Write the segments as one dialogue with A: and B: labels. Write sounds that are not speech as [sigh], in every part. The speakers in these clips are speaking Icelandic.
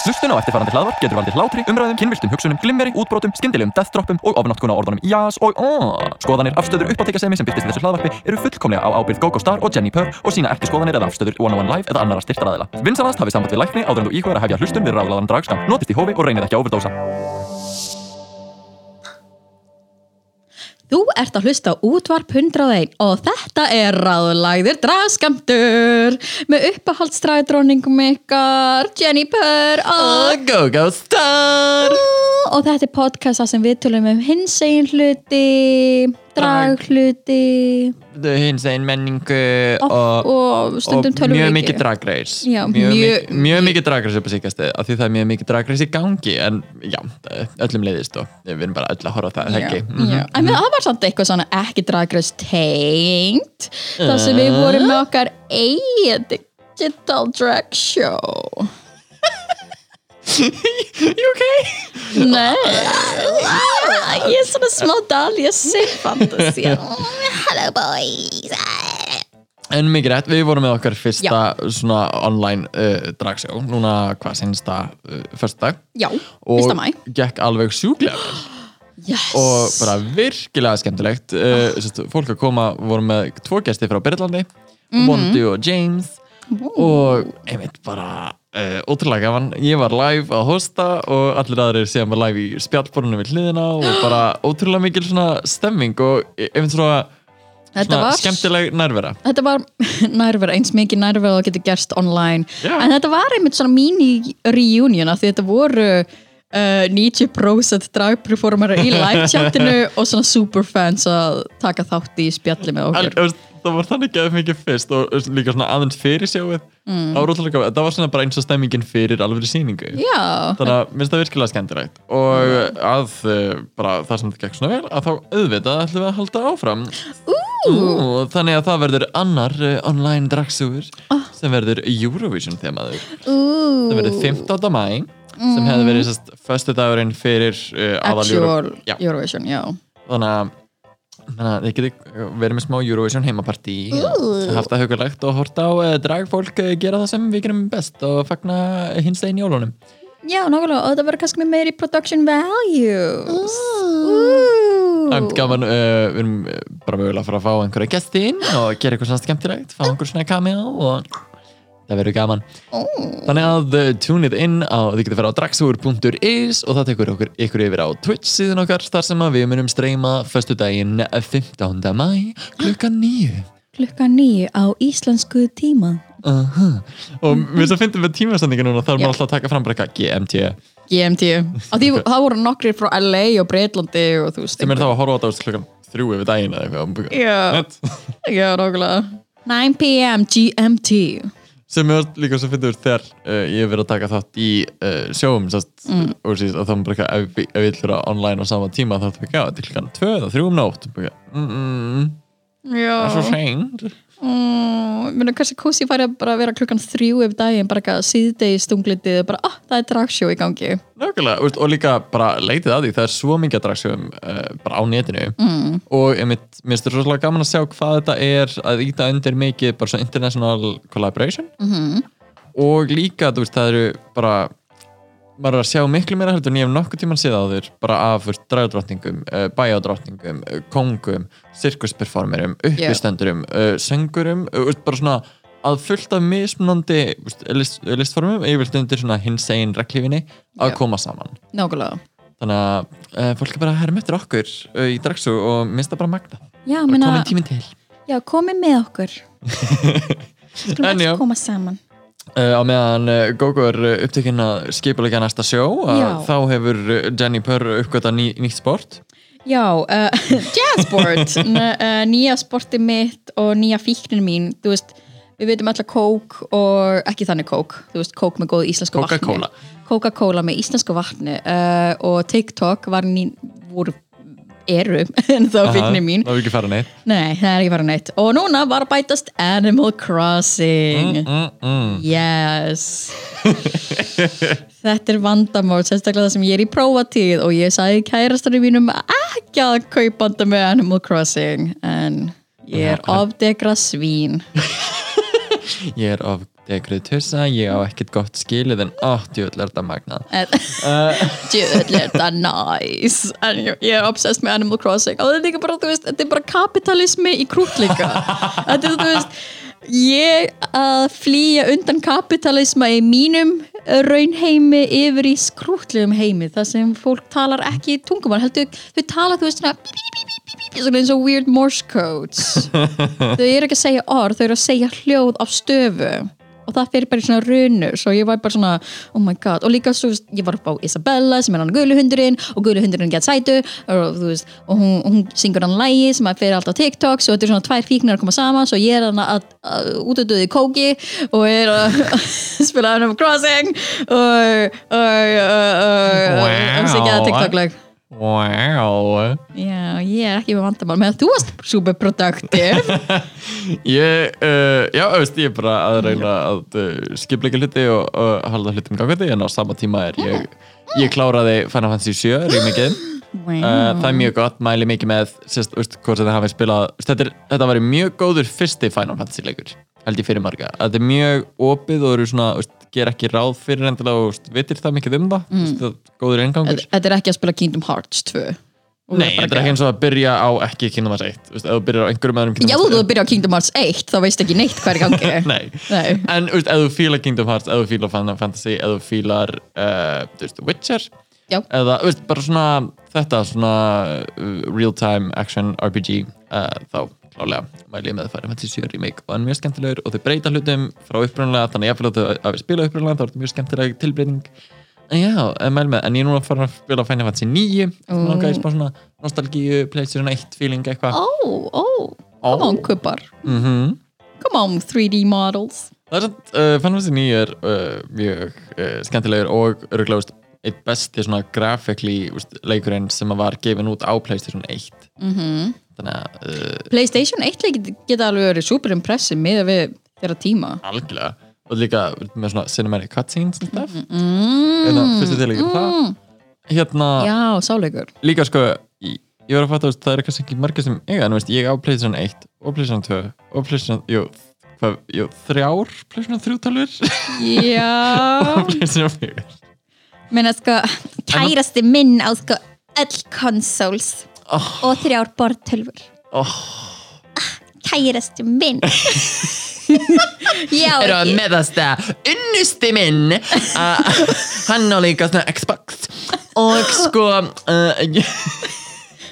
A: Hlustun á eftirfarandi hlaðvarp getur valdið hlátri, umræðum, kynviltum hugsunum, glimmeri, útbrotum, skyndilegum deathdroppum og ofnotkun á orðunum jás og aaaah. Skoðanir, afstöður, uppáttekasemi sem byrtist í þessu hlaðvarpi eru fullkomlega á ábyrgð GoGo Star og Jenni Purr og sína ekki skoðanir eða afstöður One on One Live eða annara styrtaraðila. Vinsanast hafið samband við lækni áður en þú íhugar að hefja hlustun við ráðlaðan dragskam. Notist í hófi og reynið ekki að overdósa.
B: Þú ert að hlusta á útvarp 101 og þetta er ráðlagðir dragskamtur með uppahaldstræðdróningum ykkar Jennifer og,
C: Go-Go Star
B: og þetta er podcasta sem við tölum um hinsegin hluti, draghluti
C: Hins einn menningu
B: og,
C: og,
B: og stundum
C: og
B: tölum
C: mjög
B: við
C: mikið
B: ekki.
C: dragreis
B: Já,
C: mjög,
B: mjög-
C: mjög, mjög mikið dragreis upp á síkastu af því það er mjög mikið dragreis í gangi en já, öllum leiðist og við erum bara öll að Mhm. horfa á það,
B: Já,
C: það ekki [laughs]
B: já. En það var samt eitthvað svona ekki dragræs tengt þar sem við vorum með okkar eigin digital drag show
C: You okay?
B: Nei, ég er svona smá dal, ég sé fantasy. Hello boys.
C: En mikið rétt, við vorum með okkar fyrsta svona online uh, dragsjó núna hvað sinnsta uh, fyrsta dag
B: Já,
C: og
B: fyrsta mæ.
C: gekk alveg sjúklega vel
B: Yes.
C: og bara virkilega skemmtilegt uh,
B: Ah.
C: sérst, fólk að koma voru með tvo gesti frá Byrjlandi
B: Mhm.
C: Bondi og James og einmitt bara uh, ótrúlega gaman, ég var live að hosta og allir aðrir séðan var live í spjallborunum við hliðina
B: [gasps]
C: og bara ótrúlega mikil svona stemming og e, einmitt svona,
B: þetta
C: svona
B: var,
C: skemmtileg nærvera
B: þetta var nærvera, eins mikið nærvera og getur gerst online.
C: Já.
B: En þetta var einmitt svona mini-reunion af því þetta voru uh, 90% dragperformerar í live
C: [laughs]
B: chatinu og svona superfans að taka þátt í spjalli með
C: En,
B: okkur.
C: þú veist, það var þannig geðið mikið fyrst og þú veist, líka svona aðeins fyrir sjáuð mm. það var svona bara eins og stemmingin fyrir alveg sýningu
B: Já,
C: þannig að minnst það virkilega skemmtilegt og að uh, bara það sem þetta gekk svona vel að þá auðvitað ætlum við að halda áfram Ú, þannig að það verður annar uh, online dragsúr sem verður Eurovision þemaður
B: Ah. ú,
C: það verður 15. mæ sem hefði verið sérst föstu dagurinn fyrir uh, aðal
B: actual
C: Euro- Já,
B: Eurovision, já.
C: þannig að Þannig að þið getið eh, verið með smá Eurovision heimapartí og haft það hugulegt og horta á eh, dragfólk eh, gera það sem við gerum best og fagna hins einn jólunum.
B: Já, nákvæmlega, og það verður kannski með meiri production values. Ooh.
C: Það er gaman, uh, við erum eh, bara mögulega að fara að fá einhverja gestin og gera eitthvað svona skemmtilegt, fá einhver svona cameo og það verður gaman. Þannig að eh, tune it in á, þið getur að fara á dragsúr.is og það tekur okkur ykkur yfir á Twitch síðan okkar þar sem að við munum streyma föstudaginn 15. mæ klukkan 9.
B: Klukka nýju á íslensku tíma.
C: Og við þess að fyndum við tímasendingu núna, þá er
B: Já.
C: maður alltaf að taka fram bara eitthvað GMT
B: GMT. Á því það voru nokkri frá LA og Breitlandi og þú veist.
C: sem er þá að horfa á þetta úr klukkan þrjú yfir daginn eða eitthvað.
B: Já.
C: Nett.
B: Já, nákvæmlega. 9 p.m. GMT.
C: sem er líka svo fyrir þegar uh, ég hef verið að taka þátt í uh, sjóum sást, mm. og síst, að það er bara eitthvað ef, við- ef við ætlum að vera online á sama tíma þá ætlum við ekki að til klukkan 2 eða 3 um nótt Og bara, mm, mm,
B: Já.
C: það er svo seint
B: Mm, Mér finnst kannski kósi færi að bara vera klukkan þrjú ef daginn, bara eitthvað síðdegi stunglitið, bara, ah, það er dragsjó í gangi.
C: Nákvæmlega, og, og líka bara leitið að því það er svo mikið að dragsjóum uh, bara á netinu mm. og ég mitt, mér styrir svolítið gaman að sjá hvað þetta er að íta undir mikið bara svo international collaboration -hmm. og líka, þú veist, það eru bara maður er að sjá miklu meira heldur en ég hef nokkuð tíman séð á þér bara af dragdrottningum, uh, bæjadrottningum uh, kongum, sirkusperformerum uppistendurum, yeah. uh, söngurum uh, veist, bara svona að fullt af mismunandi þú veist, list, listformum yfirlt undir svona hins einn reglífinni að
B: Já.
C: koma saman
B: Nákvæmlega.
C: Þannig að uh, fólk er bara að herra eftir okkur uh, í Draxu og minnst það bara magna.
B: Já,
C: Bara
B: minna,
C: komin tíminn til.
B: já, komið með
C: [laughs]
B: okkur. Skulum
C: En já.
B: allt koma saman.
C: Uh, á meðan uh, Gogo er uh, upptekinn að skipulega næsta sjó, uh,
B: Já.
C: þá hefur uh, Jenny Purr uppgötta ný, nýtt sport.
B: Já, uh, [laughs] jazzboard, uh, nýja sporti mitt og nýja fíknin mín, þú veist, við veitum alltaf kók og ekki þannig kók, þú veist, kók með góðu íslensku
C: Coca-Cola.
B: vatni. Coca-Cola með íslensku vatni uh, og TikTok var ný, voru, eru, [laughs] en þá fíknin mín.
C: Það er ekki fara neitt.
B: Nei, það er ekki bara neitt. Og núna var að bætast Animal Crossing.
C: Mm, mm.
B: Yes Þetta er vandamál sérstaklega það sem ég er í prófatíð og ég sagði kærastari mínum ekki að kaupa þetta með Animal Crossing en ég er ofdegra svín
C: ég er of degrið tussa, ég á ekkert gott skilið en óttjöld er þetta magnað
B: Djöðl er þetta nice En ég ég er obsessed með Animal Crossing Og þetta er líka bara, þú veist, þetta er bara kapitalismi í krútt líka Þetta er, þú veist Ég að flýja undan kapitalisma í mínum eh, raunheimi yfir í skrútlegum heimi þar sem fólk talar ekki tungumál heldur, þau tala þú veist svona bí, bí, bí, bí, bí, bí, svona eins og weird morse codes þau eru ekki að segja orð, þau eru að segja hljóð á stöfu og það fyrir bara í svona runur svo ég var bara svona, oh my god og líka svo, ég var upp á Isabella sem er hann guluhundurinn og guluhundurinn get sætu og, þú veist, og hún, hún syngur hann lægi sem að fyrir allt á TikTok svo þetta er svona tvær fíknir að koma saman svo ég er hann að, að, að útöduði kóki og er að [laughs] spila Animal Crossing og og og- og
C: Wow.
B: og syngja TikTok-lag
C: wow
B: Já, ég er ekki með vandamál með þú varst super productive
C: ég, uh, já, veist, ég er bara að reyna að uh, skipleika hluti og uh, halda hlutum gangandi en á sama tíma er ég ég kláraði Final Fantasy
B: [gasps]
C: 7 [gasps] remakeið
B: wow.
C: uh, það er mjög gott, mæli mikið með sérst, veist, hvort þetta hafi spilað þetta, er, þetta var mjög góður fyrsti Final Fantasy leikur held ég fyrir marga, þetta er mjög opið og eru svona, veist, ger ekki ráð fyrir endilega og veist, vitir það mikið um það mm. veist, það er góður engangur
B: Þetta þetta er ekki að spila Kingdom Hearts 2 Og
C: Nei,
B: bara
C: þetta er ekki eins og að byrja á ekki Kingdom Hearts 1 veist, ef þú byrjar á einhverjum öðrum
B: Já,
C: Kingdom
B: þú
C: Hearts
B: þú byrja á Kingdom Hearts 1 þá veist ekki neitt hvað er í gangi
C: 1 [laughs] Nei,
B: Nei.
C: en þú veist, ef þú fílar Kingdom Hearts ef þú fílar Final Fantasy, ef þú fílar uh, þú veist, Witcher
B: Já.
C: eða, þú veist, bara svona þetta, svona uh, real-time action RPG uh, þá klálega mæli ég með að fara með þessi remake og hann er mjög skemmtilegur og þau breyta hlutum frá upprunalega, þannig að ég fyrir að við spila upprunalega þá er þetta mjög skemmtileg tilbreyting en já, eh, mæli með, en ég er núna að fara að spila Final Fantasy 9,
B: Ó.
C: þannig að ég spá svona nostalgíu, PlayStation 1 feeling eitthvað
B: Ó, ó, come on kubbar
C: mm
B: Come on 3D models
C: Það er samt, uh, Fantasy 9 er uh, mjög uh, skemmtilegur og örgulega veist, eitt besti svona graphically veist, leikurinn sem að var gefin út á Playstation 1
B: Mhm.
C: þannig að uh,
B: Playstation 1 leikir geta alveg verið super impressive miða við þeirra tíma
C: algjörlega og líka með svona cinematic cutscenes mm -hmm.
B: mm,
C: eða fyrstu tilíkur mm það hérna,
B: Já, sáleikur
C: líka sko í- ég var að fatta, veist, það er kannski ekki margir sem eiga, en veist, ég á Playstation 1 og Playstation 2 og Playstation, jú, hvað, jú þrjár Playstation 3 talur
B: Já
C: [laughs] og Playstation 4
B: Meina sko, kærasti minn á sko öll consoles
C: oh,
B: og þrjár bortölfur
C: oh.
B: kærasti
C: [laughs]
B: minn [laughs] Já,
C: er að
B: ég-
C: meðast að unnusti [laughs] minn uh, hann á líka svona Xbox og sko uh, ég-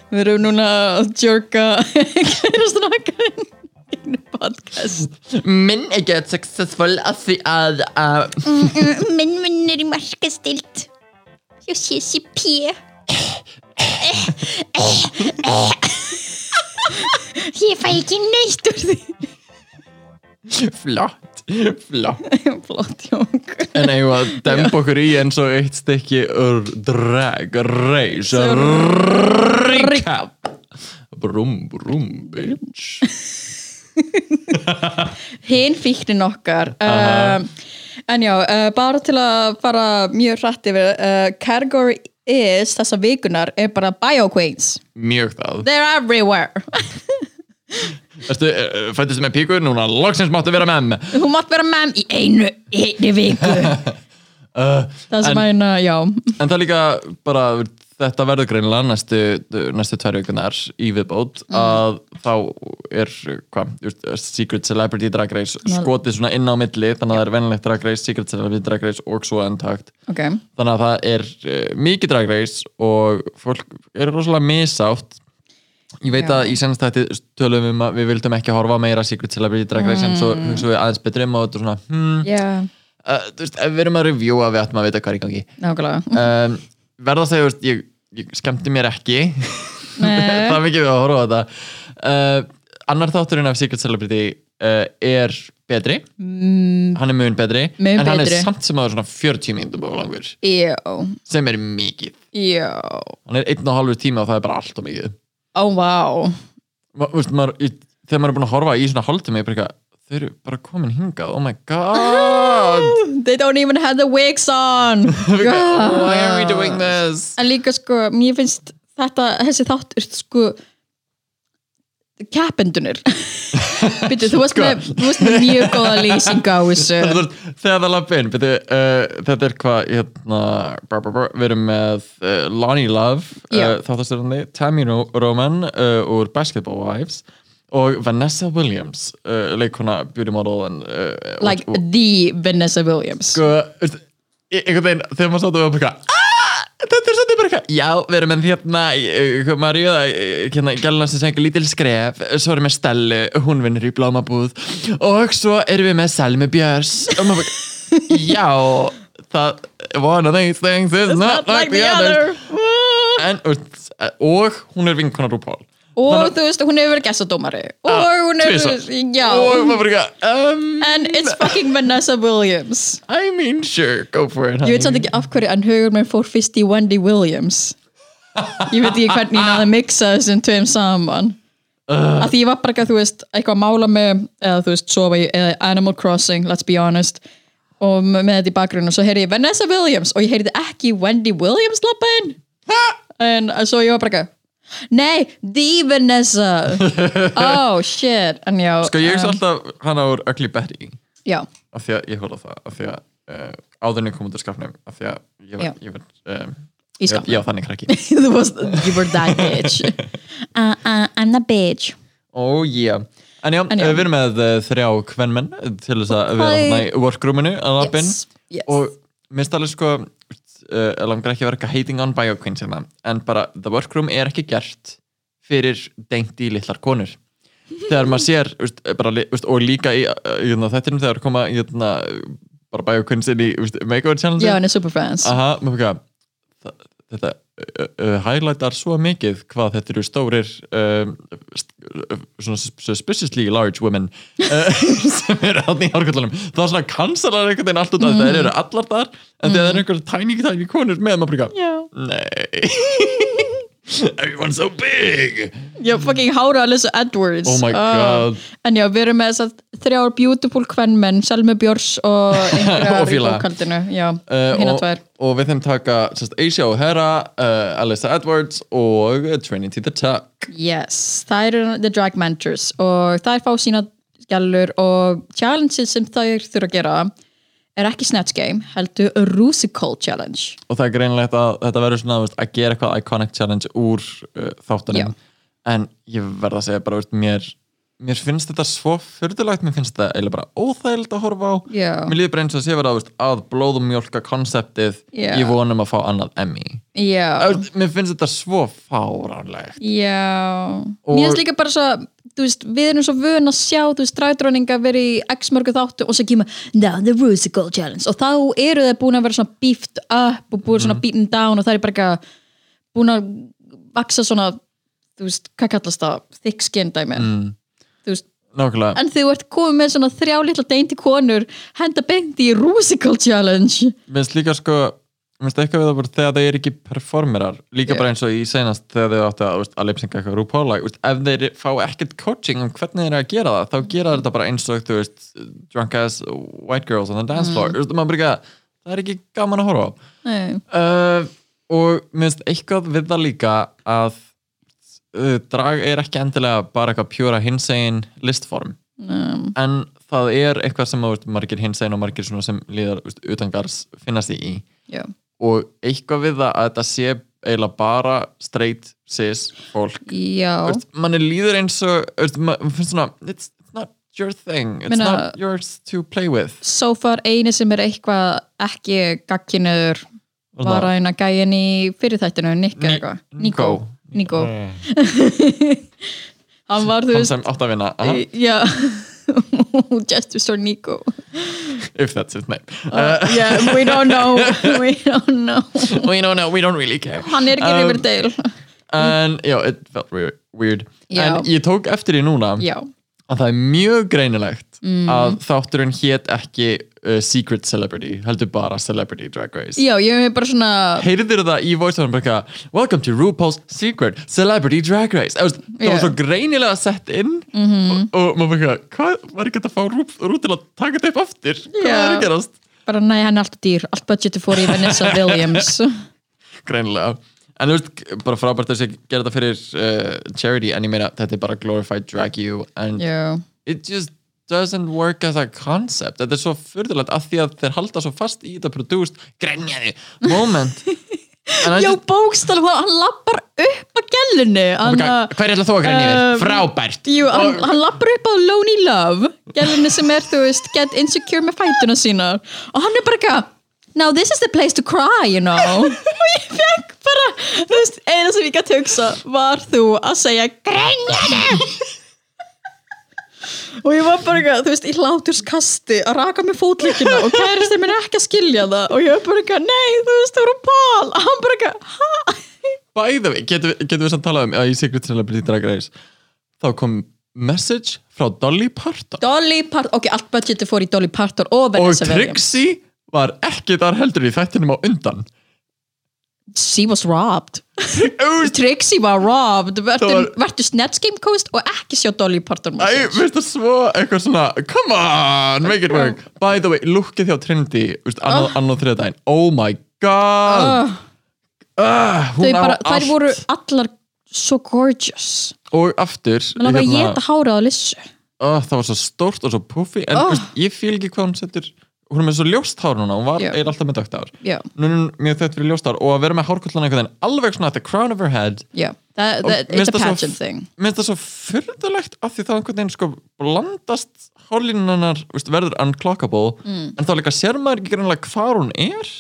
B: Við erum núna að djörga kærastan okkar einu podcast.
C: minn er gett successful að því að uh,
B: Minn vinnur í markastild hjá CCP. Ég fæ ekki neitt úr því.
C: flott flott
B: Flott jók.
C: en eigum að dempa okkur í eins og eitt stykki ur drag race recap brum brum bitch
B: Hinn fíknin okkar.
C: Aha.
B: Um, en já, uh, bara til að fara mjög hrætt yfir, uh, category is þessa vikunar er bara bio queens.
C: mjög það
B: They're everywhere.
C: Ertu, uh, fættist með píkur núna loksins máttu vera með mig
B: Þú mátt vera með í einu, í einu
C: [laughs]
B: viku. Það sem
C: Uh, En-
B: að hérna, já.
C: En það er líka bara þetta verður greinilega næstu, næstu tvær vikunar í viðbót að þá er hvað, þú veist, Secret Celebrity Drag Race
B: Ná-
C: skotið svona inn á milli þannig að það er venilegt Drag Race, Secret Celebrity Drag Race og svo endtakt
B: Ok,
C: þannig að það er uh, mikið Drag Race og fólk eru rosalega misátt ég veit
B: Já.
C: að í senastætti tölum við um að við vildum ekki horfa á meira Secret Celebrity Drag Race en svo hugsaum við aðeins betri um og þetta er svona hmm,
B: já,
C: uh, þú veist, ef við erum að reviewa við ættum að vita hvað er í gangi
B: nákvæmlega.
C: um, verða að segja, veist, ég, ég skemmti mér ekki [laughs] það er mikið við að horfa á þetta uh, annar þátturinn af Secret Celebrity uh, er betri mm. hann er mun betri
B: Mun
C: en hann
B: betri.
C: er samt sem aður svona 40 mínútur langur
B: Já,
C: sem er mikið
B: já,
C: hann er einn og halvur tíma og það er bara allt og mikið
B: ó, vá.
C: Ma, veist, maður, ég, þegar maður er búin að horfa í svona hálftíma ég bara eitthvað, þau eru bara komin hingað oh my god
B: They don't even have the wigs on.
C: [laughs] why are we doing this
B: En líka sko, mér
C: [laughs]
B: finnst þetta, þessi þáttur, sko, keppendunir. Býtu, þú varst með, þú varst með mjög góða lýsing á
C: [laughs]
B: þessu
C: Þetta var- Þegar það lappi inn byrju, uh, Þetta er hvað hérna, bra, bra, bra, Við erum með uh, Lonnie Love uh,
B: Já.
C: Þáttastörandi Tammy Ro Roman uh, úr Basketball Wives Og Vanessa Williams uh, Leikona beauty model en, uh,
B: Like
C: og,
B: the Vanessa Williams
C: sko, veist, e- einhvern veginn þegar maður sáttu og bara eitthvað "Ah, Þetta er svolítið bara eitthvað, já, við erum enn hérna, eh, Maríu, eh, hérna, gælna sem sengur lítil skref, svo erum við Stellu, hún vinnur í blómabúð og svo erum við með Selmi Björs og maður bara, já, það, one of these things is not, like the other en, þú veist, og hún er vinkona RuPaul
B: Og þú veist, hún hefur verið gestadómari Og hún hefur,
C: Ah, Tvisvar.
B: já
C: og maður bara, eitthvað, um,
B: And it's fucking Vanessa Williams
C: I mean, sure, go for it
B: Ég veit samt ekki af hverju en hugur mér fór fyrst í Wendy Williams Ég veit ekki hvernig ég náði að mixa þessum tveim saman uh. Því ég var bara ekki að þú veist eitthvað að mála með eða þú veist sofa í eða eh, Animal Crossing, let's be honest Oh, og með þetta í bakgrunn og svo heyrði ég Vanessa Williams og ég heyrði ekki Wendy Williams labbaðin en svo ég var bara ekki Nei, the Vanessa Oh shit En já,
C: Sko, ég hugsa
B: um,
C: alltaf hana úr Ugly Betty
B: já,
C: af því að ég hóla það af því að uh, áðurinn ég kom út úr skapnum af því að ég
B: Já.
C: var, ég var um,
B: Í
C: ég-
B: skápnum.
C: já þannig krakki [laughs]
B: Þú varst- you were that bitch uh, uh, I'm the bitch
C: oh yeah en já,
B: En já.
C: eh, við erum með uh, þrjá kvenmenn til þess að vera
B: Hi.
C: hérna í workroominu að lappin
B: Yes, yes.
C: og mér stælir sko uh, langar ekki að vera eitthvað hating on bio queens hérna, en bara the workroom er ekki gert fyrir dengti litlar konur þegar maður sér veist, bara, li- veist, og líka í, í, í þettinum þegar koma í, bara bio queens inn í veist, makeover challenge
B: Já, hann er superfans
C: Aha, maður fyrir hvað þetta uh, uh, highlightar svo mikið hvað þetta eru stórir um, st- uh, svona sus- suspiciously large women uh, [laughs] sem eru hann í árkvöldunum það er svona kansalar einhvern veginn allt út af mm. það eru
B: Mhm.
C: allar þar en þegar það eru einhverjum tæningi tæningi konur með maður fyrir
B: Já
C: hvað nei [laughs] everyone's so big
B: Já, fucking hára Alyssa Edwards
C: Oh my
B: Ah.
C: God.
B: En já, við erum með þess að þrjár beautiful kvenmenn Selmi Björns og einhverjar
C: [laughs] Og
B: í
C: félaga.
B: bókaldinu Já,
C: Uh,
B: hérna
C: og,
B: tvær
C: og við þeim taka sérst, Asia O'Hara, uh, Alyssa Edwards og Trinity the Tuck
B: Yes, það eru The Drag Mentors og það er fá sína gælur og challenges sem þær þurfa að gera er ekki Snatch Game, heldur Rusical Challenge
C: og það er greinilegt að þetta verður svona þú veist, að gera eitthvað iconic challenge úr uh, þáttunum en ég verð að segja bara veist, mér, mér finnst þetta svo fyrðulegt, mér finnst þetta eiginlega bara óþægild að horfa á
B: Já.
C: mér líður bara eins og sé verið að, veist, að blóðum mjólka konseptið
B: Já.
C: ég vonum að fá annað Emmy
B: Já,
C: Þú veist, mér finnst þetta svo fáránlegt
B: já Mér finnst líka bara svo þú veist, við erum svo vön að sjá þú veist, dræðdróninga verið í x mörgu þáttu og svo kemur, now the Rusical Challenge og þá eru þeir búin að vera svona beefed up og búin svona beaten down og það er bara ekki að búin að vaksa svona, þú veist, hvað kallast það thick skin dæmi
C: Mm.
B: þú veist,
C: nákvæmlega,
B: en þú ert komið með svona þrjá litla deinti konur henda beint í Rusical Challenge
C: mér finnst líka sko mér finnst eitthvað við það bara þegar það er ekki performerar líka
B: Já.
C: bara eins og í seinast þegar þau áttu að, veist, að lipsinga eitthvað RuPaul like, veist, ef þeir fá ekkert coaching um hvernig þeir eru að gera það þá gera þeir þetta bara eins og þú veist drunk ass white girls on the dance floor mm. veist, maður bara ekki að það er ekki gaman að horfa á
B: Nei.
C: uh, og mér finnst eitthvað við það líka að uh, drag er ekki endilega bara eitthvað pjúra hinsegin listform um. en það er eitthvað sem þú veist, margir hinsegin og margir svona sem líðar þú veist, utangars finnast í, í
B: já,
C: og eitthvað við það að þetta sé eiginlega bara straight cis fólk
B: já.
C: Veist, manni líður eins og veist, ma- maður finnst svona it's, it's not your thing, it's
B: Meina-
C: not yours to play with
B: so far eini sem er eitthvað ekki gagkinuður var að eina gæin í fyrirþættinu Nick eða
C: Ni-
B: eitthvað Nico,
C: Nico.
B: Nico. [laughs] hann var þú
C: hann
B: veist
C: sem átt að vinna aha.
B: já [laughs] just to start Nico
C: if that's his name [laughs]
B: [laughs] yeah, we don't know we don't know
C: we don't know, we don't really care
B: hann er ekki um,
C: Um,
B: Riverdale
C: en já, it felt weird, weird.
B: Já.
C: en ég tók eftir því núna
B: já,
C: að það er mjög greinilegt að þátturinn hét ekki uh, Secret Celebrity, heldur bara Celebrity Drag Race
B: já, ég er bara svona
C: heyrðir það í voiceoverum bara eitthvað, Welcome to RuPaul's Secret Celebrity Drag Race það, veist, það
B: Já.
C: var svo greinilega sett inn og, og maður bara, eitthvað, hvað var ekki hægt að fá Rú, Rú til að taka þetta upp aftur hvað
B: Já.
C: er að gerast,
B: bara nei, hann er alltaf dýr allt budgeti fór í Vanessa Williams [laughs]
C: greinilega en þú veist, bara frábært að þess að gera þetta fyrir uh, charity, en ég meina þetta er bara glorified drag you en
B: já,
C: it just doesn't work as a concept þetta er svo furðulegt af því að þeir halda svo fast í þetta produced, grenjaði
B: [laughs]
C: moment And I
B: Já,
C: just-
B: bókstala, hann lappar upp að gellinu
C: Oh my
B: hann,
C: God, Hver er alltaf þú að grenja
B: um,
C: yfir? Frábært
B: jú, hann,
C: Og-
B: hann lappar upp að Lonely Love gellinu sem er, þú veist, get insecure með fætuna sína og hann er bara eitthvað Now this is the place to cry, you know [laughs] og ég fekk bara, þú veist, eina sem ég gæti hugsa var þú að segja grenjanu og ég var bara eitthvað, þú veist, í hláturskasti að raka með fótleikina og kæristir minn er ekki að skilja það og ég var bara eitthvað, nei, þú veist, þú eru pál og hann bara eitthvað, hæ?
C: By the way, getum við- getum við samt talað um að í Secret Celebrity Drag Race þá kom message frá Dolly Parton
B: Dolly Parton, ok, allt budgeti fór í Dolly Parton og
C: og
B: Vanessa Williams
C: Trixie var ekki þar heldur í þættinum á undan
B: She was robbed
C: Úst,
B: Trixie var robbed vertu,
C: Það
B: var...
C: var-
B: um- vertu Snatch Game Coast og ekki sjá Dolly Parton
C: Æ,
B: message.
C: veist það svo eitthvað svona Come on, make it work By the way, lukkið hjá Trinity veist, annað, annað þriða daginn Oh my
B: Ah,
C: god uh,
B: Þau
C: Hún á
B: bara, þær
C: allt
B: voru allar so gorgeous
C: Og aftur
B: Mér langar að
C: hérna,
B: geta hárað á lissu
C: ah, Það var svo stórt og svo puffy En
B: Ah.
C: veist, ég fíl ekki hvað hún setur Hún er með svo ljóst hár núna Hún var
B: Já.
C: yeah. alltaf með dögt hár
B: Já,
C: Nú er hún mjög þett fyrir ljóst hár Og að vera með hárkullan einhvern veginn Alveg svona at the crown of her head
B: já That- that-
C: mér
B: It's a
C: finnst það svo-
B: pageant thing
C: Mér finnst það svo fyrðulegt af því þá einhvern veginn sko blandast hálínunar verður unclockable
B: Mm.
C: en þá líka sér maður ekki greinlega hvar hún er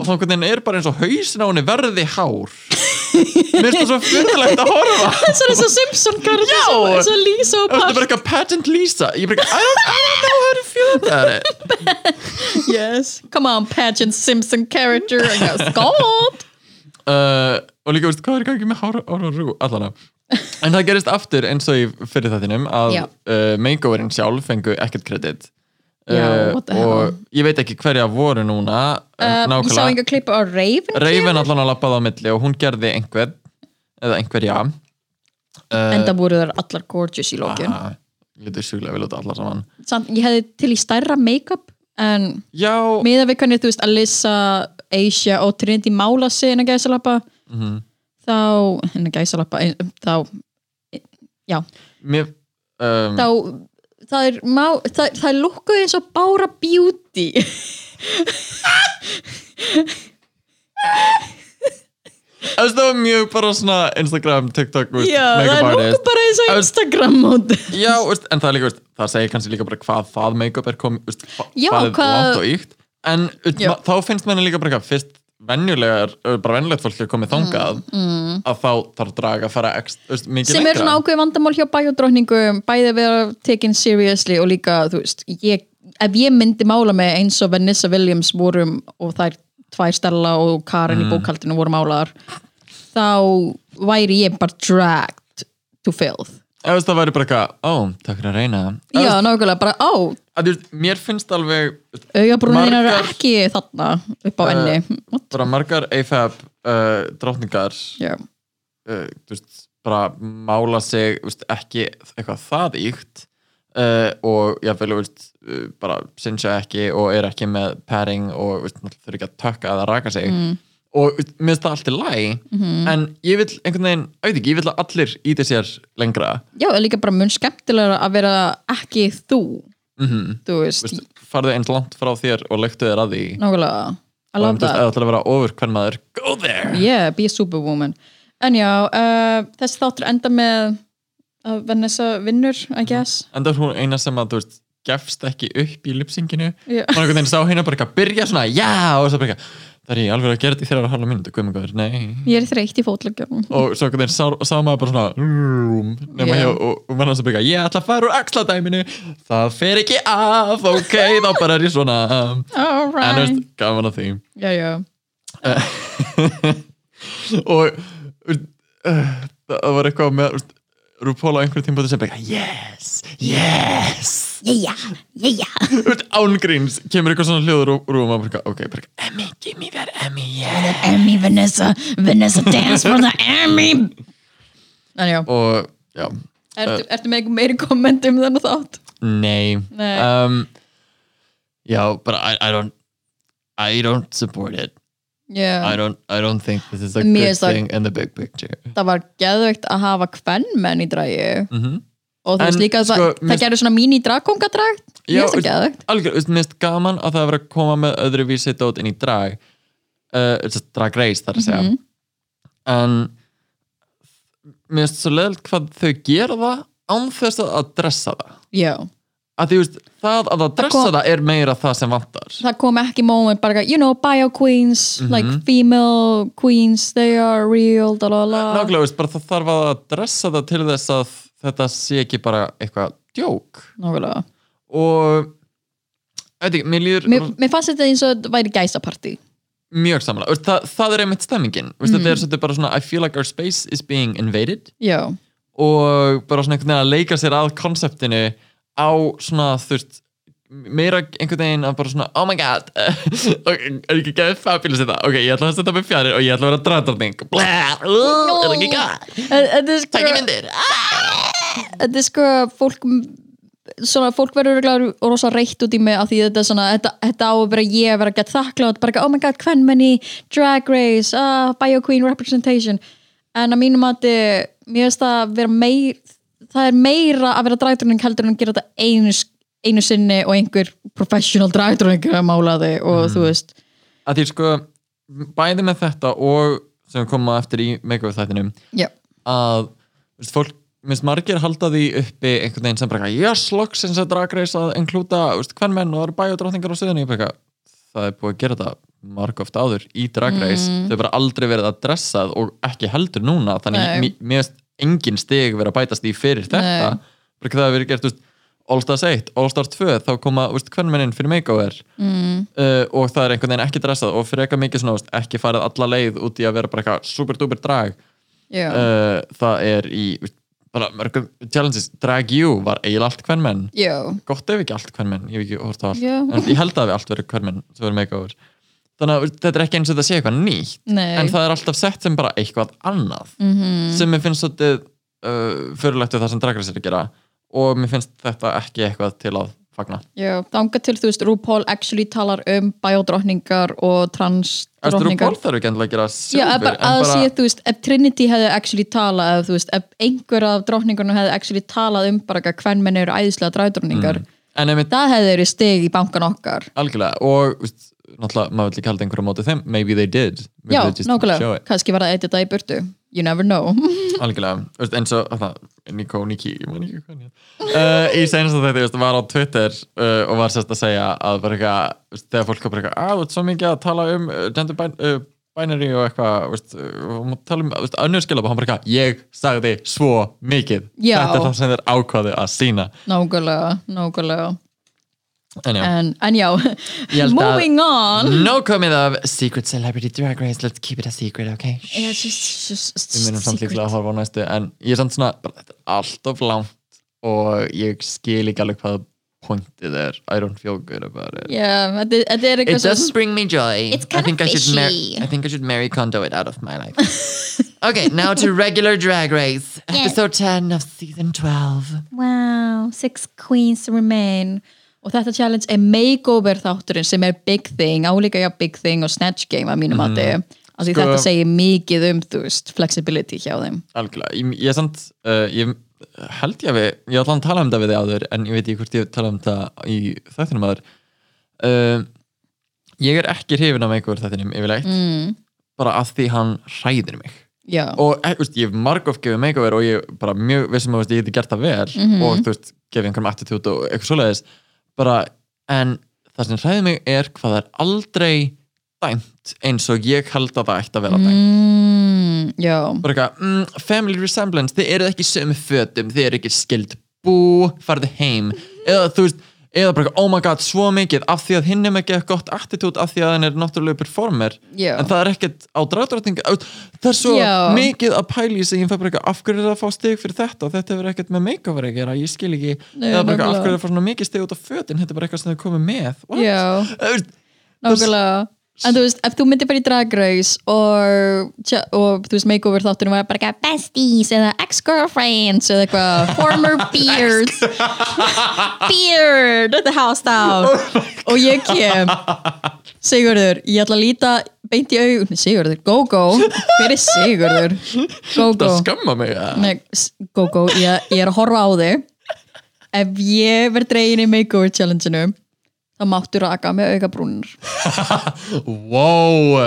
C: og þá einhvern veginn er bara eins og hausin á henni verði hár Mér finnst það svo fyrðulegt að horfa
B: [laughs] Svo er þess að Simpson karði
C: Já.
B: þess að Lisa og
C: Það er bara
B: Parton
C: eitthvað pageant Lisa Ég bara, I don't, I don't know how to feel about it
B: Yes, come on pageant Simpson character Skóld
C: uh, og líka, veist, hvað er í gangi með hár, hár og rú allana en það gerist aftur eins og í fyrir þættinum að
B: Já.
C: uh, makeoverin sjálf fengu ekkert kredit Uh,
B: Já, what the hell.
C: og ég veit ekki hverja voru núna uh,
B: Um, Ég sá
C: [laughs] nákvæmlega,
B: enga klippa á Raven
C: Reifin allan að lappa á milli og hún gerði einhver eða einhverja
B: Enda voru þær allar gorgeous í lókin
C: Ah, lítið sjúlega vel út allar saman
B: samt, ég hefði til í stærra make-up en
C: já,
B: miða við hvernig þú veist Alyssa, Asia og Trinity mála sig inn að gæsalappa þá, inn að gæsalappa inn- þá, já
C: mér um,
B: þá, það er má, það, það er lukkuð eins og Bára Beauty
C: það var mjög bara svona Instagram, TikTok, veist,
B: já, það
C: makeup
B: er
C: artist
B: lukkuð bara eins og
C: Öst-
B: Instagram móti
C: Já, veist, en það er líka, veist, það segir kannski líka bara hvað það make-up er komið, veist, hva,
B: Já,
C: hvað er
B: hvað-
C: langt og ykt en veist,
B: Já.
C: ma- þá finnst manni líka bara eitthvað fyrst venjulegar, ö, bara venjulegt fólk er komið þangað, að þá þarf draga að fara ekst, veist, mikið
B: Mm, sem er
C: lengra
B: svona ákveð vandamál hjá bæjadrótningum bæði að vera taken seriously og líka þú veist, ég, ef ég myndi mála mig eins og Vanessa Williams vorum og þær tvær Stella og Karen í
C: Mm.
B: bókaldinu voru málaðar þá væri ég bara dragged to filth
C: Eða, veist, það væri bara eitthvað, ó, takk fyrir að reyna Eða,
B: já, nákvæmlega, bara á,
C: að, veist, mér finnst alveg veist,
B: augabrúnin er
C: Margar- Eh.
B: ekki þarna upp á enni What?
C: bara margar AFAB uh, drottningar
B: já,
C: uh, þú veist, bara mála sig þú veist, ekki eitthvað það ykt uh, og jáfnvel þú veist, uh, bara sinnsja ekki og er ekki með pairing og þú veist, náttúrulega þurfi ekki að tökka eða raka sig mm. og þú veist, mér finnst það allt í læ
B: Mhm.
C: en ég vil einhvern veginn, ég veit ekki, ég vil að allir íti sér lengra
B: já, er líka bara mun skemmtilega að vera ekki þú
C: Mhm.
B: þú veist,
C: Vist, farðu eins langt frá þér og leiktu þér að því
B: nákvæmlega I
C: og
B: love
C: þú veist,
B: that
C: eða ætlar að vera ofur hvern maður go there
B: yeah, be a superwoman en já, uh, þessi þáttur enda með að Vanessa vinnur
C: Mhm.
B: I guess
C: en það er hún eina sem að þú veist, gefst ekki upp í lipsinginu
B: Já. [laughs]
C: og einhvern veginn sá hérna bara eitthvað að byrja svona já og svo bara eitthvað það er ég alveg að gera þetta í þeirra halva mínútu guð minn góður, nei
B: ég er þreytt í fótleggjum
C: og svo einhvern veginn sá, sá maður bara svona rúm,
B: Já.
C: nema hjá og, og mann hans að byrja ég ætla að fara úr axladæminu það fer ekki af, ok þá bara er ég svona um, en þú
B: alright
C: veist, gaman að því
B: já, já.
C: og uh, það var eitthvað með uh, RuPaul á einhverjum tímpóti sem bara yes, yes
B: Yeah, yeah.
C: Þú veist, ángríns kemur eitthvað svona hljóður og rúma bara, eitthvað, ok, bara, eitthvað, Emmy, give me that Emmy, yeah
B: Emmy Vanessa Vanessa dance for the Emmy en já,
C: og, uh, já,
B: ertu, ertu með einhver meiri komment um þennan þátt
C: nei,
B: Nei.
C: Um, já, bara, I, I don't I don't support it I
B: yeah.
C: don't, I don't think this is a
B: Mér
C: good
B: er það-
C: thing in the big picture
B: það var geðveikt að hafa hvern menn í dræju
C: Mhm.
B: og þú
C: En,
B: veist líka að
C: sko,
B: það,
C: mér-
B: það gerir svona mini dragkongadragt ég veist ekki að
C: Algjör, veist, mér finnst gaman að það er að vera að koma með öðru vísi dót inn í drag uh, sem sagt, drag race þar að segja
B: Mhm.
C: en mér finnst svo leðilt hvað þau gera það án þess að- að dressa það
B: já,
C: að því, veist, það að að dressa
B: kom-
C: það er meira það sem vantar
B: það kom ekki moment bara, eitthvað, you know, bio queens like female queens they are real, da la la
C: nákvæmlega, veist, bara það þarf að dressa það til þess að þetta sé ekki bara eitthvað djók
B: nákvæmlega
C: og ég veit ekki, mér líður
B: mér, mér fannst þetta eins og þetta væri gæsapartí
C: mjög sammála Veist, það, það er einmitt stemmingin mm. þetta er svolítið bara svona I feel like our space is being invaded
B: já,
C: og bara svona einhvern veginn að leika sér að konseptinu á svona þurft meira einhvern veginn að bara svona oh my god [laughs] ok, er ekki gæðið fabulous þetta ok, ég ætla að setja mig fjarir og ég ætla að vera dragdorning blæh, uh, er ekki gæð
B: En- en þetta er sko-
C: takk í myndir ah.
B: þetta er sko fólk svona fólk verður örugglega og rosa reitt út í mig af því þetta er svona, þetta, þetta á að vera ég að vera að geta þakklátt, bara ekki, oh my god, kvenmenni drag race, ah, bio queen representation, en að mínum að mér finnst það að vera meir það er meira að vera dragdrunning heldur en að gera þetta einu, einu sinni og einhver professional dragdrunning að mála þig og
C: Mhm.
B: þú veist
C: að því sko, bæði með þetta og sem við komum að eftir í make-up þættinum
B: já,
C: að veist, fólk, minnst margir halda því uppi einhvern veginn sem bara eitthvað, yes, loksins að dragreis að englúta, veist, hvern menn og það eru bæjadrótningar á suðunni, ég bara eitthvað, það er búið að gera þetta marg oft áður í dragreis mm. þau bara aldrei verið að dressað og ekki heldur núna, þannig
B: Nei.
C: mér- mér finnst engin stig verið að bætast í fyrir þetta
B: Nei.
C: bara hvað það hefur verið gert, veist All Stars 1, All Stars 2, þá koma veist, hvern mennin fyrir makeover mm. uh, og það er einhvern veginn ekki dressað og fyrir eitthvað mikið svona, veist, ekki farið alla leið út í að vera bara eitthvað super duper drag
B: já,
C: uh, það er í veist, bara mörgum challenges Drag You var eiginlega allt hvernmenn
B: já
C: gott ef ekki allt hvernmenn, ég hef ekki hort á allt
B: Já.
C: en ég held að við allt verið hvernmenn sem verið makeover þannig að veist, þetta er ekki eins og þetta sé eitthvað nýtt
B: Nei. Mhm. Mm.
C: en það er alltaf sett sem bara eitthvað annað -hmm. sem mér finnst svolítið uh, fyrirlegt við það sem dragræs er að gera og mér finnst þetta ekki eitthvað til að fagna
B: Já, þangað til þú veist, RuPaul actually talar um biodrottningar og
C: Þú
B: transdrottningar
C: ból þarf ekki endilega að gera sjálfur
B: Já, bara, að bara... sé, þú veist, ef Trinity hefði actually talað, ef, þú veist, ef einhver af drottningunum hefði actually talað um bara hvað hvern menn eru æðislega dræðdrottningar
C: en einmitt
B: það hefði verið stig í bankan okkar
C: algjörlega og veist, náttúrulega maður vil ekki halda einhverju á móti þeim maybe they did maybe
B: Já,
C: they just show
B: nákvæmlega, [laughs]
C: it.
B: kannski var það eitt þetta í burtu You never know [laughs]
C: algjörlega, veist, eins og þarna, Nico Niki, ég man ekki hvað hann hét. uh, í senast að þetta veist, var á Twitter uh, og var sérst að segja að bara eitthvað, veist, þegar fólk var bara eitthvað að þú ert svo mikið að tala um uh, gender bin uh, binary og eitthvað veist, uh, og maður tala um veist, önnur skilabá, hann bara eitthvað ég sagði svo mikið
B: Já.
C: þetta er það sem þeir ákvaðu að sína
B: Nákvæmlega, nákvæmlega
C: en já,
B: En, en já,
C: Ég held
B: [laughs]
C: að-
B: moving on
C: nóg komið af Secret Celebrity Drag Race, let's keep it a secret, okay?
B: Yeah, it's just- it's just- it's
C: við munum
B: just
C: samt
B: secret.
C: líklega að horfa á næstu en ég er samt svona, bara, þetta er allt of langt og ég skil ekki alveg hvað pointið er, Iron Fjókur yeah,
B: Yeah, þetta þetta er
C: It
B: eitthvað
C: does
B: svo-
C: bring me joy
B: It's
C: I
B: kinda
C: think I should mar-
B: fishy.
C: I think I should marry Kondo it out of my life
B: [laughs]
C: Okay, now to regular drag race Episode 10 of season 12
B: Wow, six queens remain og þetta challenge er makeover þátturinn sem er big thing, álíka já big thing og snatch game að mínum mm. að því
C: Sko-
B: þetta segir mikið um þú veist, flexibility hjá þeim
C: Algjörlega, ég, ég er samt uh, ég held ég að við, ég ætla að tala um þetta við þig áður en ég veit ekki hvort ég tala um þetta í þættinum áður uh, ég er ekki hrifin af makeover þættinum yfirleitt mm. bara af því hann hræðir mig
B: já,
C: og eh, veist, ég hef margóf gefið makeover og ég bara mjög vissum að veist, ég geti gert það vel og þú veist, gefið einhverjum attitút og eitthvað svoleiðis bara, en það sem hræðir mig er hvað það er aldrei dæmt eins og ég held að það ætti að vera
B: Mhm.
C: dæmt
B: mm, já
C: bara eitthvað, mm, family resemblance þið eruð ekki í sömu fötum, þið eruð ekki skild bú, farðu heim eða þú veist, eða bara eitthvað, oh my god svo mikið, af því að hinn er með ekki gott attitút af því að hann er náttúrulega performer
B: Já.
C: en það er ekkert á drátrætning það er svo
B: Já.
C: mikið að pæla í sig ég fæ bara eitthvað, af hverju er það að fá stig fyrir þetta þetta hefur ekkert með makeover að gera, ég skil ekki
B: Nei,
C: eða bara eitthvað,
B: nefnilega.
C: af hverju er það að fá svona mikið stig út af fötin þetta er bara eitthvað sem þau komið með What?
B: Já.
C: Þú veist,
B: Nákvæmlega En þú veist, ef þú myndir bara í Drag Race og, tja- og þú veist, makeover þáttunum var bara eitthvað besties eða ex-girlfriends eða eitthvað
C: [laughs]
B: former beards beard at the house down
C: Oh
B: og ég kem Sigurður, ég ætla að líta beint í augun, Sigurður, go-go hver er Sigurður?
C: það
B: Go-go
C: skamma mig eða?
B: Nei, s- Gógó, ég, ég er að horfa á þig ef ég verð dregin í makeover challenge-inu þá máttu raka með auka brúnir
C: wow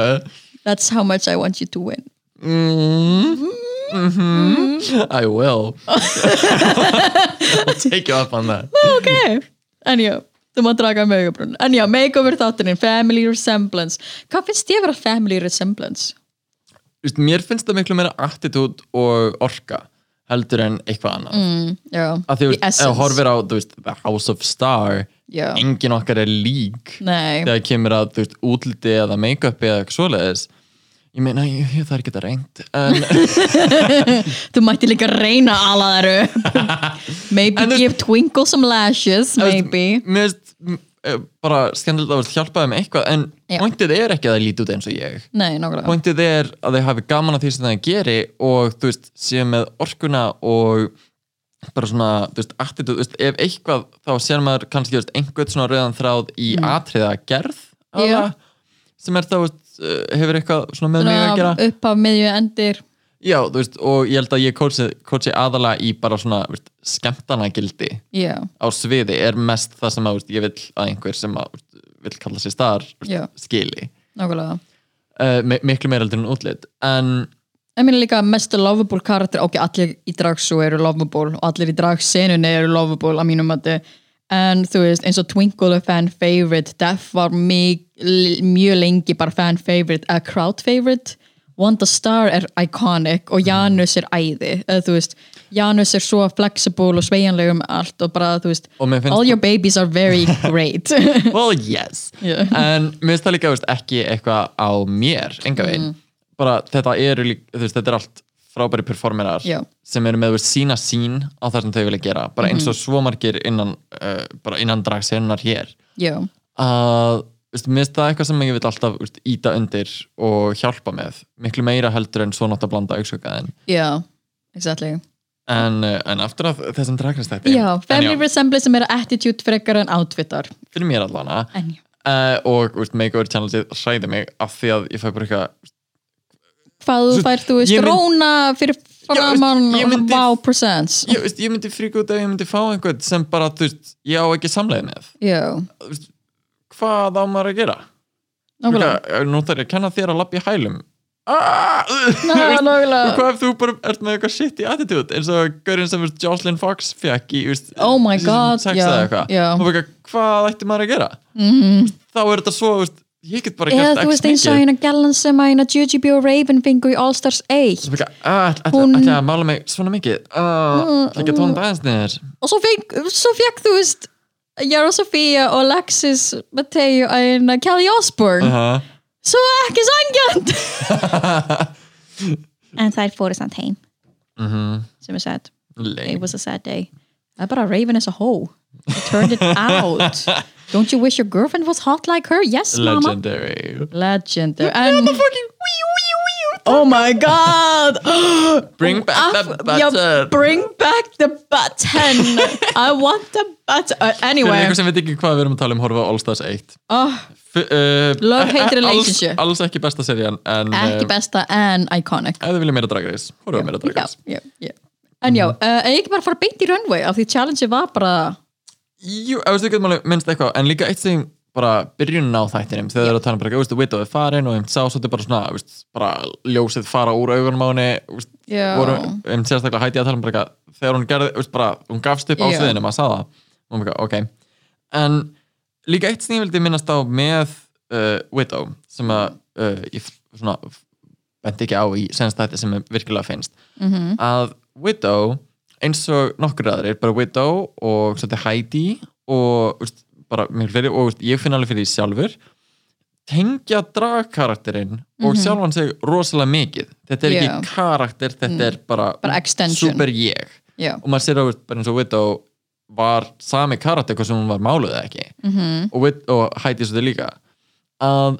B: that's how much I want you to win
C: Mm-hmm. I
B: [laughs]
C: will I'll take you up on that
B: ok, en já þú mátt raka með auka brúnir en já, makeover þátturinn, family resemblance hvað finnst ég vera family resemblance?
C: Vist, mér finnst það miklu meira attitút og orka heldur en eitthvað annað mm.
B: já,
C: að því
B: í
C: þú veist, ef þú horfir á þú veist, The House of Star
B: Já.
C: engin okkar er lík
B: Nei.
C: þegar kemur að þú veist, útliti eða make-upi eða eitthvað svoleiðis ég meina, ég, ég þarf ekki þetta reynd en,
B: Þú mætti líka reyna að ala þær upp
C: [laughs]
B: Maybe
C: En þú-
B: give Twinkle some lashes Maybe
C: mér veist m- eh, bara skemmtilegt að þú vilt hjálpa þeim með eitthvað en
B: Já.
C: pointið er ekki að það líti út eins og ég
B: Nei, nákvæmlega
C: pointið er að þau hafi gaman að því sem það geri og þú veist, séu með orkuna og bara svona, þú veist, attitude, þú veist, ef eitthvað þá sér maður kannski, þú veist, einhvern svona rauðan þráð í mm. atriða gerð aðra,
B: Já.
C: sem er þá, þú veist, eh, hefur eitthvað svona með mig að
B: Svona
C: gera
B: Upp af miðju endir
C: já, þú veist, og ég held að ég kótsi, kótsi aðalega í bara svona, þú veist, skemmtana gildi
B: Já,
C: á sviði er mest það sem að, þú veist, ég vil að einhver sem að, þú veist, vill kalla sér star, þú
B: Já.
C: veist, skili
B: nákvæmlega
C: uh, miklu meira heldur en útlit, en
B: Ég meina líka að mestu lovable karakter Ok, allir í dragsú eru lovable og allir í dragsenunni eru lovable að mínum mati En þú veist, eins og Twinkle er fan favorite Def var mig, l- mjög lengi bara fan favorite A crowd favorite Wanda Star er iconic og Janus er æði eða þú veist, Janus er svo flexible og sveianleg um allt og bara þú veist,
C: Og mér finnst-
B: all your babies are
C: [laughs]
B: very great
C: well yes
B: Já.
C: en mér finnst það líka veist, ekki eitthvað á mér enga veginn,
B: Mm.
C: bara þetta eru líka, þú veist, þetta er allt frábæri performerar
B: Já.
C: sem eru með þú veist, sína sín á það sem þau vilja gera, bara
B: Mhm.
C: eins og svo margir innan, uh, bara innan dragsennar hér
B: Já,
C: að þú veist, mér finnst það eitthvað sem ég vil alltaf þú veist, íta undir og hjálpa með miklu meira heldur en svo nátt að blanda auksökaðin
B: já, exactly
C: en, uh, en aftur af þessum dragnastætti
B: Já, family resemblance sem er attitude frekar en outfitar
C: fyrir mér allana
B: En já
C: uh, og þú veist, makeover challenge hræði mig af því að ég fæ bara eitthvað
B: hvað þú
C: Svo-
B: fær, þú veist,
C: ég mynd-
B: róna fyrir framann
C: ég myndi-
B: wow percents
C: ég, veist, ég myndi fríka út ef ég myndi fá einhvern sem bara, þú veist, ég á ekki samleið með
B: já,
C: Þú veist, hvað á maður að gera Líka,
B: nákvæmlega
C: nú þarf ég að kenna þér að lappa í hælum Ah! Þú
B: Ná,
C: veist, og
B: nákvæmlega.
C: hvað ef þú bara ert með eitthvað shit í attitude eins og gaurinn sem þú veist, Jocelyn Fox fekk í þú veist,
B: Oh my
C: season
B: God,
C: sex
B: já,
C: eða eitthvað.
B: já. Mhm.
C: Og bara eitthvað, hvað ætti maður að gera -hmm. þá er þetta svo þú veist, ég get bara
B: eða
C: gert
B: þú
C: X
B: veist eins og
C: mikið.
B: hérna Gellan sem að hérna GGB og Raven fengu í All Stars 1
C: Svo bara eitthvað, ah, ætla- ætla-
B: Hún- Mm,
C: ætla að mála mig svona mikið ah, ætla ekki að tóna þetta aðeins niður
B: og svo fekk, svo fekk þú veist Jara Sofía og Alexis Mateo að hérna Kelly Osbourne
C: uh,
B: svo ekki
C: [laughs]
B: sangjant en þær fóru samt heim
C: Mhm.
B: sem er sad it was a sad day það er bara Raven is a hoe I turned it out don't you wish your girlfriend was hot like her yes mama
C: legendary
B: Legendary and Oh my god
C: [gasps] Bring back the
B: Af-
C: butter.
B: Já, Bring back the
C: [laughs]
B: button I want the button uh,
C: Fyrir
B: Anyway
C: einhver sem veit ekki hvað við erum að tala um horfa á All Stars 1
B: oh,
C: F uh,
B: Love, hate,
C: eh,
B: relationship.
C: alls, alls ekki besta serían en
B: Ekki
C: eh,
B: besta en iconic
C: ef þið viljum meira Drag Race horfa meira Drag
B: já,
C: Race
B: já, já. En já, uh, en ég ekki bara fara beint í runway af því challenge var bara
C: Jú, ef þú getum alveg minnst eitthvað en líka eitt sem bara byrjunin á þættinum þegar þið eru að tala um bara, þú veist, Widow er farin og einmitt sá, svo þetta er bara svona, þú veist, bara ljósið fara úr augunum á henni þú veist,
B: Já.
C: voru, um sérstaklega hætti ég að tala um bara eitthvað, þegar hún gerði, þú veist, bara hún gafst upp á
B: Já.
C: sviðinu, maður sá það og maður eitthvað, ok en líka eitt sem ég vildi minnast á með uh, Widow, sem að uh, ég svona bent ekki á í senst þetta sem mér virkilega finnst
B: Mm-hmm.
C: -hmm. að Widow eins og nokkur aðrir, bara Widow og svolítið Heidi og úst, bara mjög fleiri og úst, ég finn alveg fyrir því sjálfur tengja dragkarakterinn og sjálfan sig rosalega mikið þetta er
B: Mhm. Já. Mm.
C: ekki karakter, þetta er bara,
B: Bara extension.
C: super ég
B: já,
C: og maður sér að úst, bara eins og Widow var sami karakter hvað sem hún var máluð eða ekki
B: Mm-hmm.
C: -hmm. og, Wid- og Heidi svo þetta líka að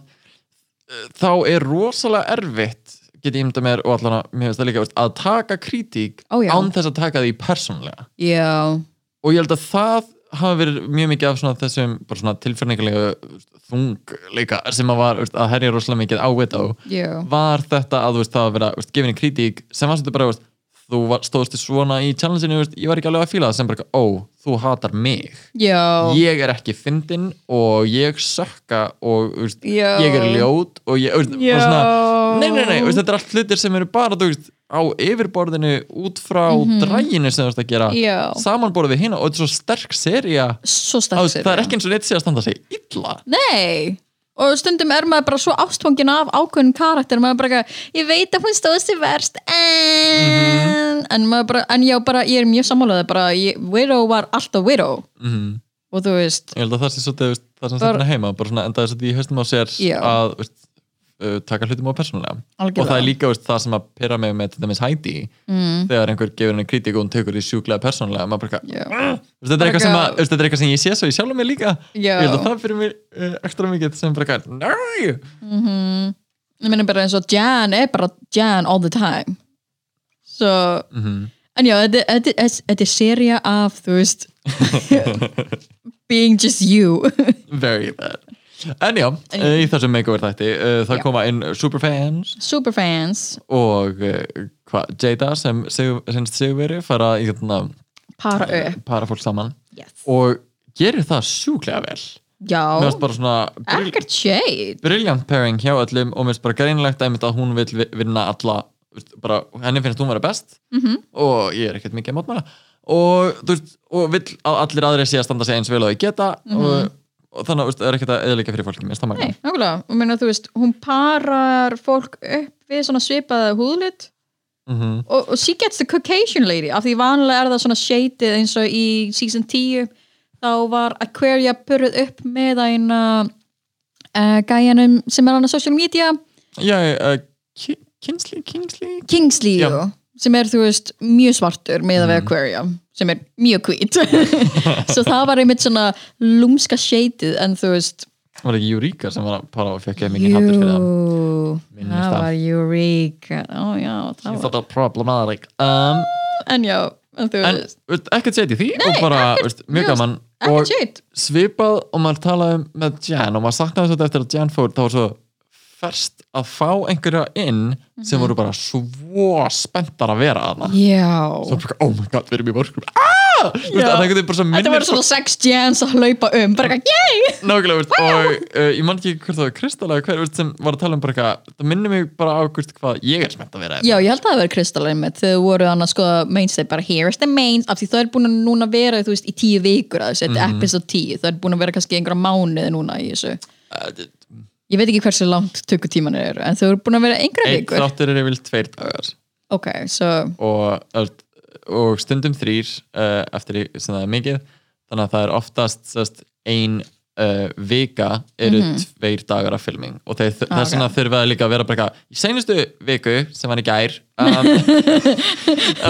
C: eh, þá er rosalega erfitt get ég imda mér og allan að mér finnst það líka veist, að taka krítík
B: Ó, já.
C: án þess að taka því persónlega
B: já,
C: og ég held að það hafi verið mjög mikið af svona þessum bara svona tilfinningalegu veist, þungleika sem að var veist, að herja rosalega mikið á við á
B: já
C: var þetta að þú veist, það að vera veist, gefinni krítík sem var svolítið bara veist, þú var, stóðst í svona í challenge-inu, þú veist, ég var ekki alveg að fíla það sem bara, eitthvað, ó, þú hatar mig
B: Já,
C: ég er ekki fyndin og ég sökka og þú veist,
B: Já.
C: ég er ljót og ég, þú veist,
B: Já.
C: bara svona, nei, nei, nei, þú veist, þetta er allt hlutir sem eru bara, þú veist, á yfirborðinu út frá mm draginu sem þú veist að gera
B: Mhm. Já.
C: samanborðið við hina og þetta er svo sterk seria
B: svo
C: Á,
B: sterk
C: það er ekki eins og neitt sé að standa sig illa
B: Nei og stundum er maður bara svo ástfangin af ákveðin karakter, maður bara eitthvað, ég veit að hún stóð sér verst en,
C: Mhm.
B: en maður bara, en já bara ég er mjög sammálaðið, bara ég, Widow var alltaf Widow
C: Mhm.
B: og þú veist,
C: ég held að það sé svolítið þú veist, það sem
B: Bara-
C: stefna heima bara svona endaði svolítið í haustum á sér
B: Já.
C: að þú veist, uh, taka hlutum á persónulega
B: Algjörlega.
C: og það er líka þú veist, það sem að pyrra mig með til dæmis Heidi mm. þegar einhver gefur henni kritík og hún tekur því sjúklega persónulega maður bara,
B: Já.
C: eitthvað, "Ugh." Þú veist, þetta er
B: Bara
C: eitthvað sem að,
B: eitthvað-
C: þú veist, þetta er eitthvað sem ég sé svo í sjálfum mig líka
B: Já.
C: ég held að það fyrir mér uh, ekstra mikið sem bara eitthvað, "Nei!"
B: ég minna bara eins og Jan er bara Jan all the time so,
C: Mhm.
B: en já þetta, þetta, þetta, þetta er seria af þú veist
C: [laughs]
B: [laughs] being just you [laughs]
C: very bad en já, uh, í þessum makeover þætti uh, það
B: Já.
C: koma inn superfans
B: superfans,
C: og uh, hva, Jada sem sinnst Sigurveri fara í hérna,
B: para upp
C: para fólk saman
B: yes.
C: og gerir það sjúklega vel
B: já,
C: mér finnst bara svona brill,
B: ekkert shade
C: brilliant pairing hjá öllum og mér finnst bara greinilegt einmitt að hún vil vi- vinna alla veist, bara, henni finnst hún vera best -hmm. og ég er ekkert mikið að mótmæla og, þú veist, og vill að allir aðri sé að standa sig eins vel og þau geta og, og þannig að veist, það er ekkert að eðlika fyrir fólki mér finnst það
B: Nei,
C: magnað.
B: nákvæmlega, og meina þú veist hún parar fólk upp við svona svipaða húðlit
C: Mhm.
B: og, og she gets the Caucasian lady af því vanlega er það svona shaded eins og í season 10 þá var Aquaria purruð upp með eina uh, gæjanum sem er hann á social media
C: já, uh, Ki- Kingsley, Kingsley
B: Kingsley
C: Já. Mhm.
B: jú, sem er þú veist mjög svartur með að við Aquaria sem er mjög
C: [laughs]
B: hvít [laughs] svo það var einmitt svona lúmska shaded en þú veist
C: var ekki Eureka sem var að para og fekk ég mikið hattur fyrir það
B: Jú,
C: Minnist
B: það
C: það.
B: var Eureka Ó já, það
C: Ég
B: var
C: þátt að problematic um,
B: en já, en þú
C: en
B: veist
C: veist, ekkert seti því og bara veist, mjög
B: mjög-
C: gaman
B: ekkert
C: og
B: shit,
C: svipað og maður talaði með Jan og maður saknaði svolítið eftir að Jan fór þá var svo ferst að fá einhverja inn
B: Mhm.
C: sem voru bara svo spenntar að vera að það
B: já
C: svo bara, oh my god, við erum í mörgum ah! Þú veist,
B: Já.
C: það einhvern veginn bara svo
B: þetta
C: minnir
B: var svona sex jans að hlaupa um bara ekki, yay
C: [laughs] Nákvæmlega, veist, og uh, ég man ekki hvort það var Kristalega hver veist, sem var að tala um bara eitthvað það minnir mig bara á hvort hvað ég er spennt að vera
B: já, ég held að það verið kristallegin mitt þegar þau voru annars sko mainstay bara here is the mains af því það er búin að núna vera þú veist í tíu vikur að þessu, þetta
C: Mhm.
B: er episode 10 það er búin að vera kannski einhverja mánuði núna í þessu
C: uh,
B: ég veit ekki hversu langt tökutíman eru en þau eru búin að vera einhverja
C: Eitt
B: vikur
C: þáttur er yfir tveir dagar
B: ok, so
C: og, öll- og stundum þrýr uh, eftir því sem það er mikið þannig að það er oftast sest, ein uh, vika eru
B: Mhm.
C: tveir dagar af filming og þeir, ah, þess vegna þurfa líka að vera bara eitthvað, í seinustu viku sem var í gær
B: [laughs]
C: um,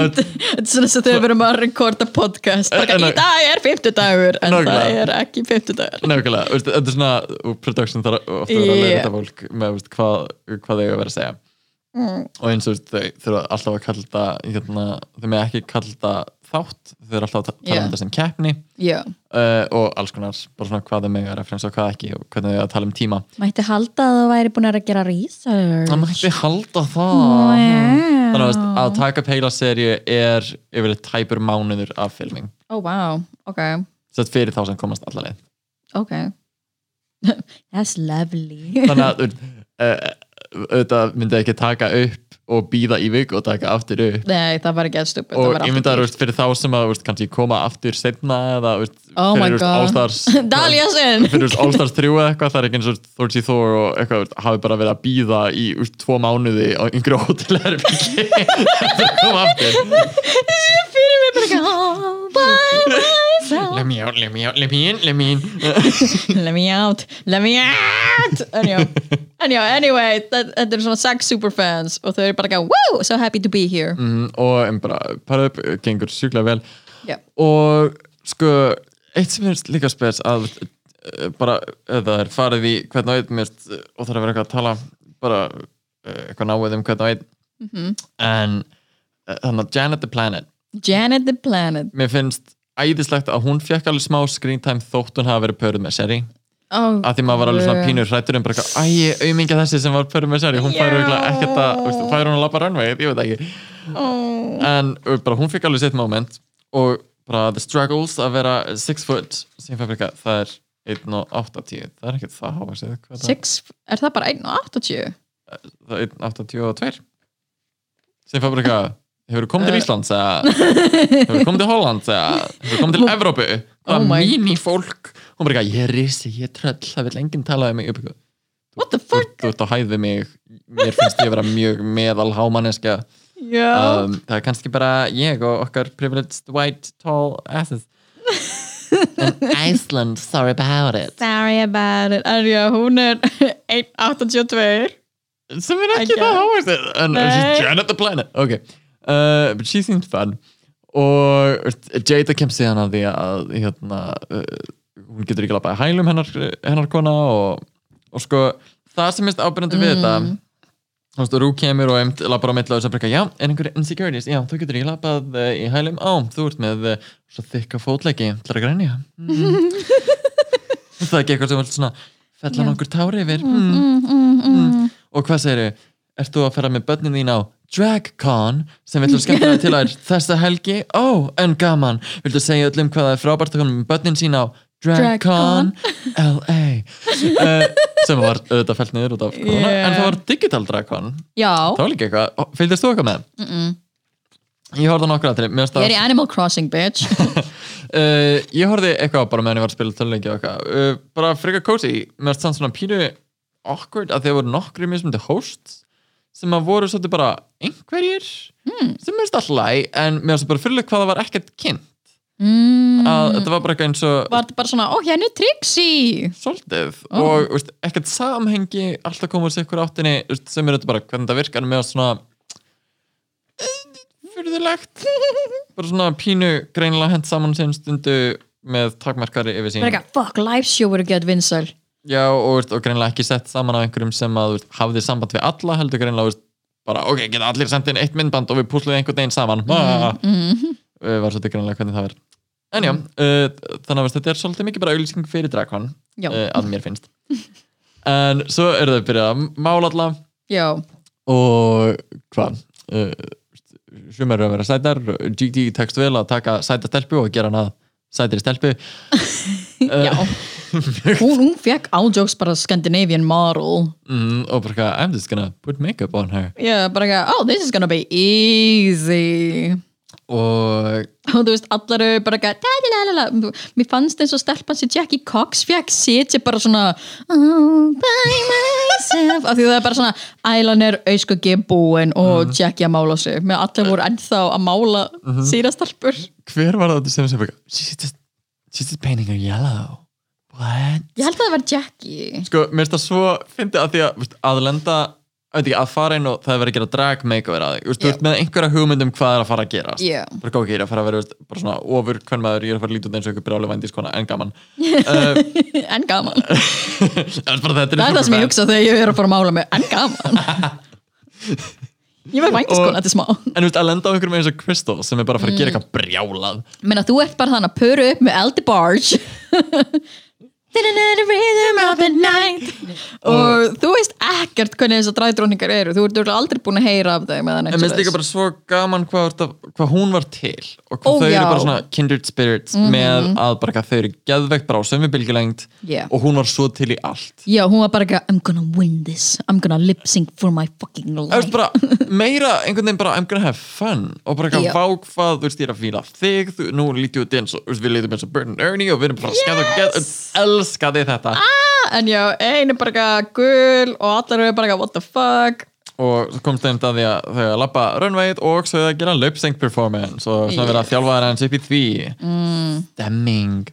B: þetta er svona sem þau verðum að rekorda podcast bara ekki,
C: En- en-
B: í dag er 50 dagur en það
C: Nákvæmlega.
B: er ekki 50 dagur
C: nákvæmlega, veist, þetta er svona og production þarf ofta að vera að
B: Yeah.
C: leiða fólk með veist, hvað, hvað þau eiga að vera að segja
B: Mm.
C: og eins og veist, þau þurfa alltaf að kalla þetta hérna, þau með ekki kalla þetta þátt, þau eru alltaf að ta- tala
B: Yeah.
C: um þetta sem keppni
B: já
C: uh, og alls konar, bara svona hvað þau mega að referensa og hvað ekki og hvernig þau eiga að tala um tíma
B: Mætti halda að það væri búin að gera research
C: það mætti halda það
B: Wow.
C: þannig að, veist, að taka peila serju er yfir tæpur mánuður af filming
B: Oh wow, ok,
C: þetta fyrir þá sem komast alla
B: [laughs]
C: leið
B: ok That's lovely
C: þannig að uh, auðvitað myndi ekki taka upp og býða í vik og taka aftur upp
B: Nei, það var ekki að stupid
C: og ég myndi að veist, fyrir þá sem að veist, kannski koma aftur setna eða veist,
B: Oh my
C: fyrir veist,
B: God.
C: Allstars
B: [laughs] Dalja sinn
C: fyrir veist, Allstars 3 eða eitthvað það er ekki eins og Thorgy Thor og eitthvað veist, hafi bara verið að býða í veist, tvo mánuði á einhverju [laughs] hótelherbyggi eftir að koma aftur
B: Fyrir mig bara ekki all by myself
C: [laughs] Let me out, let me out, let me in, let me in
B: Let me out, let me out Enjá, enjá, anyway það- Þetta eru svona sex superfans og þau eru bara ekki að Woo, so happy to be here
C: Mm, og en bara para upp, gengur sjúklega vel
B: Já.
C: og sko eitt sem er líka spes að eh, bara, eh, það er farið í hvern og einn mér, finnst, eh, og það er að vera eitthvað að tala bara eh, eitthvað náið um hvern og einn en eh, þannig að Janet the Planet
B: Janet the Planet
C: mér finnst æðislegt að hún fekk alveg smá screen time þótt hún hafa verið pöruð með Sherry
B: oh,
C: að því maður var alveg svona pínur hrættur um bara eitthvað, æ, auðmingja þessi sem var fyrir með sér hún fær
B: Já.
C: auðvitað ekkert að, þú veist, fær hún að labba rannvegið, ég veit það ekki
B: oh.
C: en uh, bara hún fikk alveg sitt moment og bara the struggles að vera 6 foot sem fabrika, það er 1.80, það er ekkert það háa séð, hvað er það?
B: Six, er það bara 1.80?
C: það er 1.82 sem fabrika, hefur þú komið
B: Eh.
C: til Íslands eða, hefur þú komið til Holland eða, hefur þú komið til Evrópu
B: Oh
C: hvað
B: my-
C: mini fólk, hún bara, eitthvað, ég er risi ég er tröll, það vil enginn tala um mig upp eitthvað
B: What the
C: þú
B: fuck?
C: þú ert á hæð við mig mér finnst ég vera mjög meðal hámanneska
B: Já,
C: um, það er kannski bara ég og okkar privileged white tall asses
B: [laughs]
C: in Iceland, sorry about it
B: sorry about it en já, hún er [laughs] 1.82
C: sem er
B: I
C: ekki það
B: guess.
C: hávægt en
B: Nei.
C: she's Janet the planet ok, uh, but she seems fun og uh, Jada kemst síðan að því að hérna, uh, hún getur ekki labbað í hælum hennar, hennar kona og, og sko, það sem mest ábyrjandi við þetta
B: Mm.
C: þú veist, Rú kemur og eimt lappar á mittla og þess að breyka, já, er einhverju insecurities, já, þú getur ekki lappað uh, í hælum, á, þú ert með uh, svo þykka fótleggi, til að
B: [laughs]
C: grænja mm. það er ekki eitthvað sem vilt svona fella nokkur tári yfir mm. Og hvað segirðu? Ert þú að fara með börnin þín á DragCon sem viltu skemmtilega til
B: [laughs]
C: að þessa helgi? Ó, en gaman! Viltu segja öllum hvað það er frábært að koma með börnin sín á DragCon LA uh, sem var auðvitað fælt niður út af corona,
B: Yeah.
C: en það var Digital DragCon
B: Já,
C: það var líka eitthvað, Ó, fylgdist þú eitthvað með? Mm -mm. Ég horfði á nokkra aðri
B: ég er í Animal Crossing, bitch [laughs]
C: uh, ég horfði eitthvað á bara meðan ég var að spila töluleiki og eitthvað, uh, bara frekar cozy mér varst þannig svona pínu awkward að þeir voru nokkri mismundi hosts sem að voru svolítið bara einhverjir mm. sem mér finnst alltaf læg en mér finnst bara fyrirlega hvað það var ekkert kynnt
B: mm,
C: að þetta var bara eitthvað eins og
B: Var þetta bara svona, ó, hérna er Trixie
C: svolítið
B: Ó.
C: og veist, ekkert samhengi alltaf komur sér ykkur áttinni veist, sem er þetta bara hvernig það virkar með svona fyrðulegt bara svona pínu greinilega hent saman sem stundu með takmarkari yfir sín
B: Bara eitthvað, fuck, live show voru gett vinsal
C: Já, og, veist, og greinlega ekki sett saman af einhverjum sem að, veist, hafði samband við alla heldur greinlega veist, bara, ok, geta allir sendið inn eitt myndband og við púsluðum einhvern veginn saman
B: Mhm.
C: mm, var svolítið greinlega hvernig það verð en já, uh, þannig að veist, þetta er svolítið mikið bara auðlýsing fyrir Drakon
B: Já,
C: uh, að mér finnst en svo eru þau byrjað að mála alla
B: já,
C: og hvað uh, sumar eru að vera sætar GT tekst vel að taka sæta stelpu og gera hana að sætri
B: [laughs]
C: stelpu Eh,
B: já Hún, hún fekk ájóks bara Scandinavian model
C: mm, og bara, eitthvað, I'm just gonna put makeup on her
B: Já, bara eitthvað, oh, this is gonna be easy
C: og
B: og þú veist, allar eru bara eitthvað "Da-di-la-la-la." mér fannst eins og stelpan sem Jackie Cox fekk sitja bara svona all by myself af því það er bara svona, ælan er auðskuggi búin og Jackie að mála sig með allir voru ennþá að mála síra stelpur
C: hver var það sem sem bara, she's just, she's just painting her yellow what?
B: ég held að það var Jackie
C: sko, mér finnst það svo fyndi að því að veist, að lenda, veit ekki, að fara inn og það er verið að gera drag makeover að þig, veist, þú
B: Já.
C: ert með einhverja hugmynd um hvað er að fara að gerast
B: Já.
C: bara góð ekki, ég er að fara að vera veist, bara svona ofur hvern maður, ég er að fara að líta út eins og einhver brjálu vændis kona, en gaman uh,
B: en gaman,
C: [laughs] en bara þetta
B: það er
C: er
B: það sem ég
C: Superbad.
B: hugsa þegar ég er að fara að mála mig, en gaman ég var vængiskona til smá
C: en þú veist, að lenda á einhverjum eins og Crystal sem er bara að fara að
B: Mm.
C: gera eitthvað brjálað
B: menna þú ert bara þannig að pöru upp með Eldi Barge [laughs] og þú veist ekkert hvernig þessar dræðdróningar eru þú ert örugglega aldrei búin að heyra af þeim eða neitt
C: En mér finnst
B: svoleiðis.
C: líka bara svo gaman hvað, þú ert að- hvað hún var til og hvað
B: Ó,
C: þau
B: já. Mhm.
C: eru bara svona kindred spirits með að bara hvað þau eru geðvegt bara á sömu bylgjulengd
B: Yeah.
C: og hún var svo til í allt.
B: já, hún var bara ekki I'm gonna win this, I'm gonna lip sync for my fucking
C: Það
B: life [laughs]
C: veist bara meira einhvern veginn bara I'm gonna have fun og bara
B: Já.
C: eitthvað vák hvað þú veist ég er að fíla þig, þú, nú lítið út eins og þú veist, við lítum eins og Burton Ernie og við erum bara að skæða og geð, elska þið þetta
B: en já, einu bara ekki gul og allar eru bara ekki what the fuck
C: og svo komst þeim það því að þau að lappa runwayt og svo þau að gera lip sync performance og svona vera að þjálfa þær hans upp í því
B: Mm.
C: stemming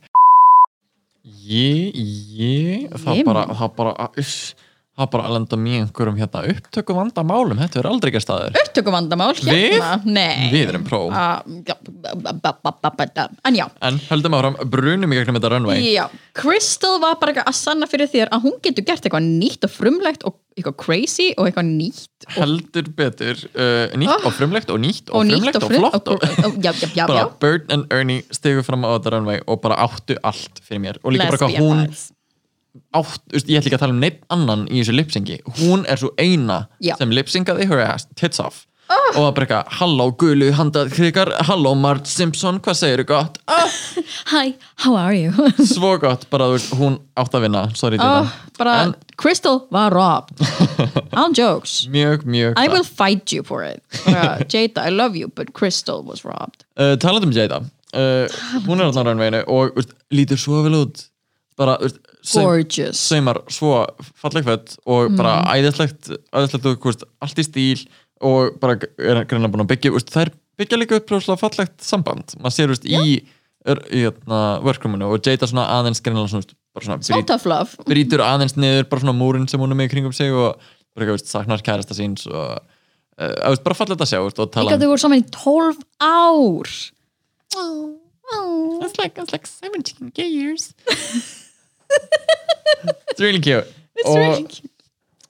C: ég, ég það
B: Ég-
C: bara, það bara uss, það bara að lenda mér einhverjum hérna upptöku vandamálum, þetta er aldrei ekki staður
B: upptökum vandamál hérna Nei.
C: við erum pró,
B: Ah, já, ba- ba- ba- ba- ba- da. en já
C: en höldum áfram brunum í gegnum þetta runway
B: Já, Crystal var bara eitthvað að sanna fyrir þér að hún getur gert eitthvað nýtt og frumlegt og eitthvað crazy og eitthvað nýtt
C: heldur betur, uh, nýtt og frumlegt og nýtt og,
B: Ah.
C: frumlegt
B: nýtt
C: og, flott og,
B: og, já, já, já,
C: bara
B: já.
C: Bird and Ernie stegu fram á þetta runway og bara áttu allt fyrir mér og líka bara hvað
B: Lesbian
C: hún
B: vibes.
C: átt, þú veist, ég ætla ekki að tala um neitt annan í þessu lipsingi, hún er svo eina
B: Já. Ah.
C: sem lipsingaði her ass tits off og það bara eitthvað, halló gulu handað krikar, halló Marge Simpson hvað segirðu gott, ah,
B: Hi, how are you?
C: svo gott bara þú veist, hún átt að vinna, sorry
B: oh,
C: Dina
B: bara,
C: En-
B: Crystal var
C: [laughs]
B: robbed I'm jokes
C: mjög, mjög
B: I will fight you for
C: [laughs]
B: it uh, Jada, I love you, but Crystal was robbed
C: uh, talað um Jada uh, hún er alltaf rannveginu og veist, lítur svo vel út bara veist, saum-
B: Gorgeous
C: saumar svo falleg fett og
B: Mm.
C: bara æðislegt, æðislegt og, veist, allt í stíl og bara er greina búin að byggja veist, þær byggja líka upp rosalega fallegt samband maður sér veist, í, er, í hérna, verkruminu og Jada svona aðeins greina svona, veist, bara svona
B: Smá
C: brýt-
B: tough love
C: brýtur aðeins niður bara svona múrin sem hún er með í kringum sig og bara, veist, saknar kærasta síns og uh, veist, bara fallegt að sjá veist, og tala um
B: Líka þau voru saman í 12 ár oh.
C: It's like, it's like 17 gay years. [laughs] It's really cute.
B: It's really cute.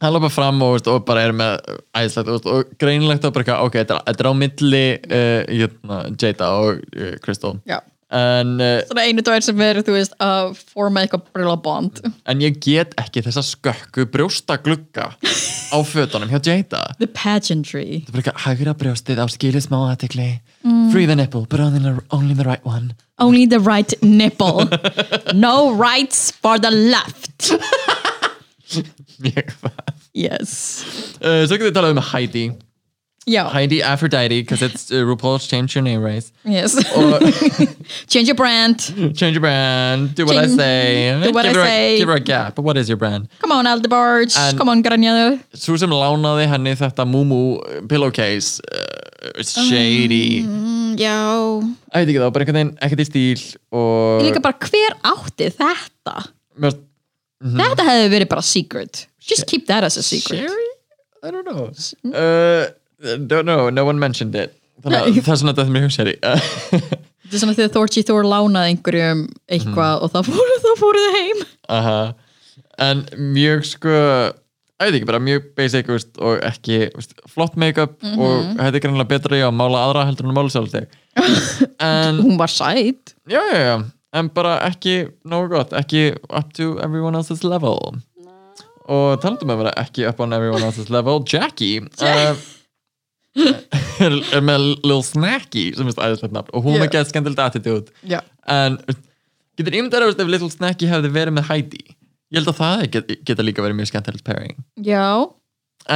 C: Hann lópa fram og, veist, og bara er með æðislegt veist, og greinilegt að bara eitthvað, ok, þetta er- þetta er á milli uh, jötna, Jada og uh, Crystal.
B: Já.
C: En, uh,
B: Svona einu dvær sem verður, þú veist, að forma eitthvað brilla bond
C: en ég get ekki þessa skökku brjóstaglugga á fötunum hjá Jada.
B: The pageantry
C: Það er bara eitthvað hægra brjóstið á skilið smá aðtikli.
B: Mm.
C: Free the nipple, but only the, only the right one. [laughs]
B: Only the right nipple No rights for the left
C: Mjög það.
B: Yes
C: Uh, svo getur við talað um Heidi.
B: Já,
C: Heidi Aphrodite, because it's uh, RuPaul's change your name
B: [laughs]
C: race.
B: yes
C: Oh.
B: Change your brand
C: Change your brand, do what I
B: Change-
C: say.
B: do what
C: give
B: I
C: her a-
B: say.
C: Give her a gap, what is your brand?
B: Come on Aldebarge,
C: En-
B: come on Granjaðu
C: Sú sem lánaði henni þetta Mumu pillowcase, uh, shady.
B: Mm. Já
C: Æ, veit ekki þá, bara einhvern veginn, ekkert í stíl og...
B: Líka bara hver átti þetta
C: Mér-
B: Þetta hefði verið bara secret Just keep that as a secret
C: Sherry? I don't know. Uh, don't know, no one mentioned it. Þannig að
B: Nei.
C: það er svona þetta mjög sherry.
B: [laughs] Þetta er svona þegar Thorgy Thor lánaði einhverjum eitthvað og þá fóru, þá fóru þau heim.
C: Aha. En mjög sko ég veit ekki bara mjög basic veist, og ekki veist, flott make-up og
B: Mhm.
C: þetta er greinlega betra í að mála aðra heldur en að mála sjálf þig
B: [laughs]
C: en,
B: Hún var sætt.
C: já, já, já en bara ekki nógu gott ekki up to everyone else's level og talandum um að vera ekki up on everyone else's level Jackie uh, [laughs] er, er með Lil Snacky sem finnst æðislegt nafn og hún
B: Já.
C: er gett skemmtilegt attitude
B: Já.
C: en getur ímyndar ef Little Snacky hefði verið með Heidi ég held að það get, geta líka verið mjög skemmtilegt pairing
B: Já.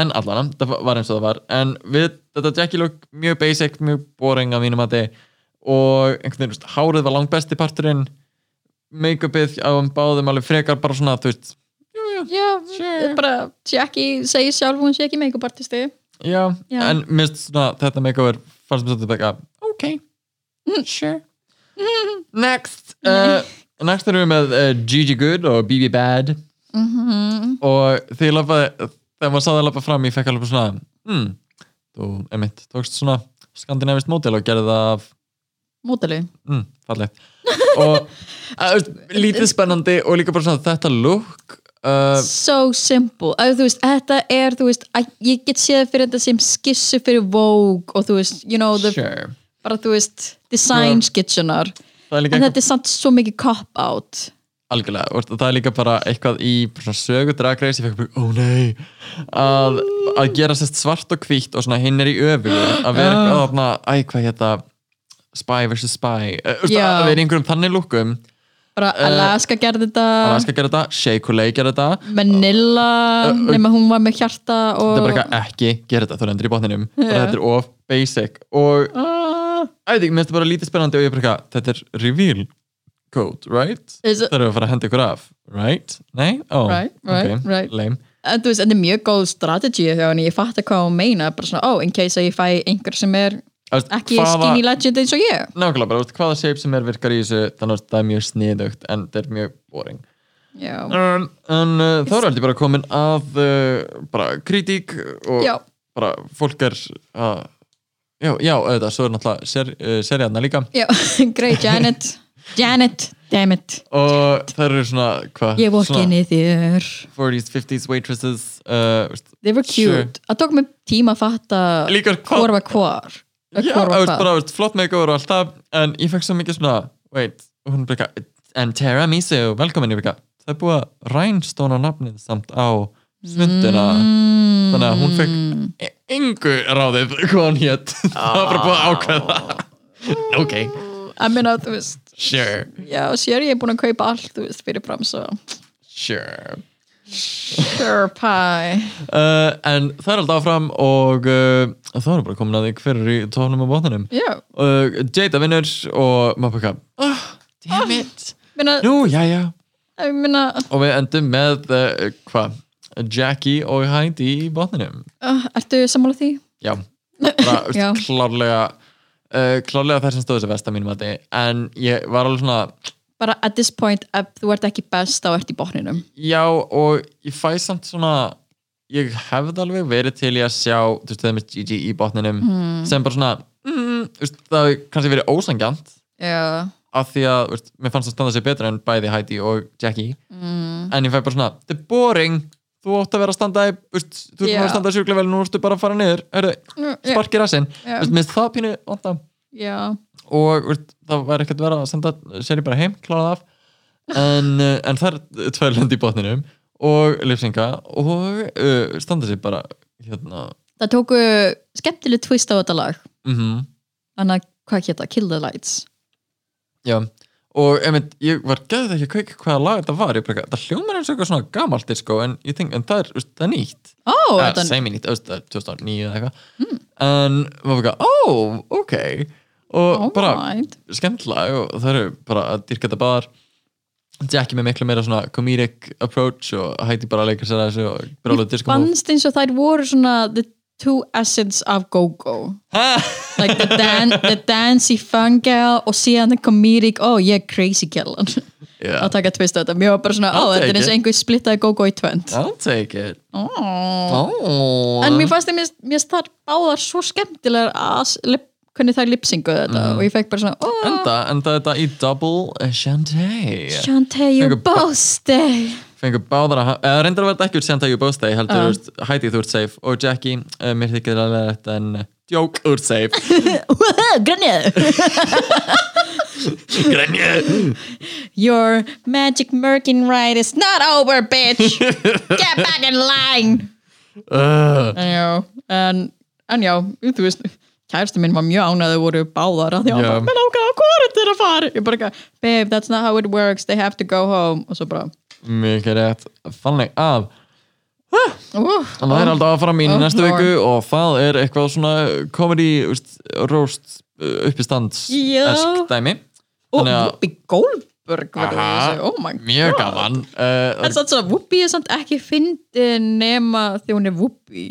C: en allan, það var eins og það var en við, þetta Jackie look mjög basic mjög boring að mínum að þið og einhvern veginn, þú veist, hárið var langt besti parturinn make-upið á um báðum alveg frekar bara svona, þú veist jú, jú,
B: Já, eh,
C: Sure.
B: bara Jackie segir sjálf hún sé ekki make-up artisti.
C: já,
B: Já.
C: en minnst svona þetta make-upir fannst mér svolítið bækka ok,
B: Mm. [laughs]
C: sure next uh, [laughs] next erum við með uh, Gigi Good og BB Bad
B: Mhm.
C: og þegar ég lafaði þegar maður sáði að lafa fram, ég fekk alveg bara svona hmm, þú, emitt, tókst svona skandinavist mótil og gerði það af
B: Mótali.
C: mm,
B: [laughs]
C: fallegt og að, veist, lítið spennandi og líka bara svona þetta look uh,
B: So simple. Að, þú veist, þetta er, þú veist, að, ég get séð fyrir þetta sem skissu fyrir Vogue og þú veist, you know, the,
C: sure
B: bara þú veist, design skitsunar.
C: það er líka
B: En
C: eitthvað,
B: þetta er samt svo mikið cop-out.
C: algjörlega veist, það er líka bara eitthvað í bara svona sögu dragreis, ég fekk bara, ó nei að, að gera sérst svart og hvítt og svona hinn er í öfu að vera
B: Ah.
C: eitthvað þarna, æ hvað hétta spy versus spy uh, veist,
B: Já.
C: að vera í einhverjum þannig lookum
B: Bara Alaska gerði þetta,
C: Eh. Alaska gerði þetta, Sheikulei gerði þetta
B: Manila, nema hún var með hjarta
C: þetta er bara
B: og...
C: eitthvað ekki gera þetta, þú lendir í botninum bara þetta er of basic og
B: Ah.
C: æði ekki, mér finnst þetta bara lítið spennandi og ég bara eitthvað, þetta er reveal code, right?
B: Is it-
C: Það eru að fara að henda ykkur af, right? Nei? Oh,
B: Right, right,
C: ok,
B: right.
C: lame
B: en þú veist, þetta er mjög góð strategi hjá henni, ég fatt að hvað hún meina bara svona, ó, in case að ég fæ einhver sem er
C: Þú veist,
B: ekki skinny legend eins og ég
C: Nákvæmlega bara, þú veist, hvaða shape sem er virkar í þessu þannig að það er mjög sniðugt en þetta er mjög boring
B: já,
C: En, en uh, þá er aldrei bara komin að uh, bara kritík og
B: Já.
C: bara fólk er að Já, já, auðvitað, svo er náttúrulega ser, uh, seriðarna líka
B: já. [laughs] great Janet Janet, damn it
C: og það eru svona, hvað?
B: ég voru
C: Svona
B: ekki í þér
C: 40s, 50s waitresses uh, veist,
B: they were
C: Sure.
B: cute, það tók mig tíma að fatta
C: Líka hvað-
B: hvor var hvar Eh,
C: Já,
B: hvor
C: þú
B: var
C: veist,
B: hvað
C: bara, þú veist, flott makeover og allt það en ég fekk svo mikið svona, wait og hún bara, eitthvað, en Tara Misu, velkomin ég bara, eitthvað, það er búið að rænstóna nafnið samt á svundina
B: mm.
C: þannig að hún fekk e- engu ráðið hvað hún hétt [laughs] það var bara búið að ákveða ok,
B: Ég meina, þú veist,
C: sure,
B: já, sér ég er búin að kaupa allt, þú veist, fyrir fram, svo
C: sure
B: Sure pie
C: uh, en það er alltaf áfram og uh, þá erum við bara komin að því hver er í tónum og bóðunum
B: Já,
C: uh, Jada vinnur og Mapaka oh, damn it
B: meina,
C: nú, jæja
B: ég meina
C: og við endum með uh, hvað, Jackie og Heidi í bóðunum
B: uh, Ertu sammála því?
C: já, bara veist,
B: Já.
C: klárlega uh, klárlega þær sem stóðu sér vest að mínum að en ég var alveg svona
B: Bara at this point, ef þú ert ekki best þá ert í botninum
C: já og ég fæ samt svona ég hefði alveg verið til í að sjá þú veist það með Gigi í botninum sem bara svona mm, þú veist, það hefði kannski verið ósangjant
B: Já,
C: af því að þú veist, mér fannst það standa sér betur en bæði Heidi og Jackie mm. en ég fæ bara svona, þetta er boring þú átt að vera að standa í, þú veist, þú yeah.
B: Já.
C: að standa sjúklega vel nú ertu bara að fara niður, Heru,
B: Mm, já.
C: sparki rassinn
B: Já.
C: yeah. minnst það pínu vanda
B: já,
C: og þú veist, það var ekkert verið að senda sér bara heim, klárað af en, eh, en það er tvær lend í botninum og lifsinga og uh, standa sér bara hérna
B: það tóku skemmtileg twist á þetta lag
C: mhm
B: Þannig að, hvað hétt það? Kill the Lights
C: Já, og einmitt, ég var gæðið ekki að kveika hvaða lag þetta var, ég bara, eitthvað, það hljómar eins og eitthvað svona gamalt disko, en ég tenk, en það er, veist, það er nýtt,
B: Ó,
C: Eh,
B: þetta Hmm.
C: semi nýtt, veist, það er 2009 eða eitthvað, en maður fyrir, ó, ok, og
B: Oh
C: bara
B: my.
C: skemmtilega, og það eru bara að dyrka þetta baðar, Jackie með miklu meira svona comedic approach og Heidi bara leikur sér að þessu og brálaðu
B: Ég
C: disko múf.
B: fannst eins og þær voru svona the two essence af go-go like the, [laughs] dan the dancey fun gal og síðan the comedic, oh yeah, crazy gal
C: Yeah.
B: að taka twist á þetta, mér var bara svona, ó,
C: I'll
B: þetta
C: take
B: er eins og
C: it.
B: einhver splittaði go-go í tvönd
C: I'll take it.
B: oh.
C: Oh.
B: en mér fannst það, mér stað báðar svo skemmtilegar að s- lip, hvernig það lipsingu þetta og ég fekk bara svona, oh,
C: Enda, enda þetta í double Shantae.
B: Shantae, you're
C: Fengu bara-
B: boasting
C: fengur báðar að eða reyndar að verða ekki úr Santa Jú Bóstæði heldur,
B: Já.
C: þú veist, Heidi þú ert safe og Jackie, uh, mér þykir alveg þetta en eh, djók, þú ert safe
B: [laughs]
C: [laughs]
B: grannið
C: Grenju!
B: your magic merkin ride is not over,
C: [laughs]
B: bitch get back in line
C: uh,
B: en já, en, en já þú veist, kæristi minn var mjög ánæði voru báðar að því að
C: Já.
B: yeah. menn ákvæða hvað er þetta að fara ég bara ekki, babe, that's not how it works they have to go home og svo bara
C: mikið rétt, þannig að
B: uh,
C: það er alltaf að fara mín í
B: Oh,
C: næstu
B: Lord.
C: viku og það er eitthvað svona comedy, þú veist, roast uh, uppistands
B: Já.
C: dæmi
B: og
C: þannig að-
B: Whoopi Goldberg verður
C: Aha,
B: þessi, oh my
C: mjög
B: god
C: gaman uh,
B: en samt svona, Whoopi er samt ekki fyndin nema því hún er Whoopi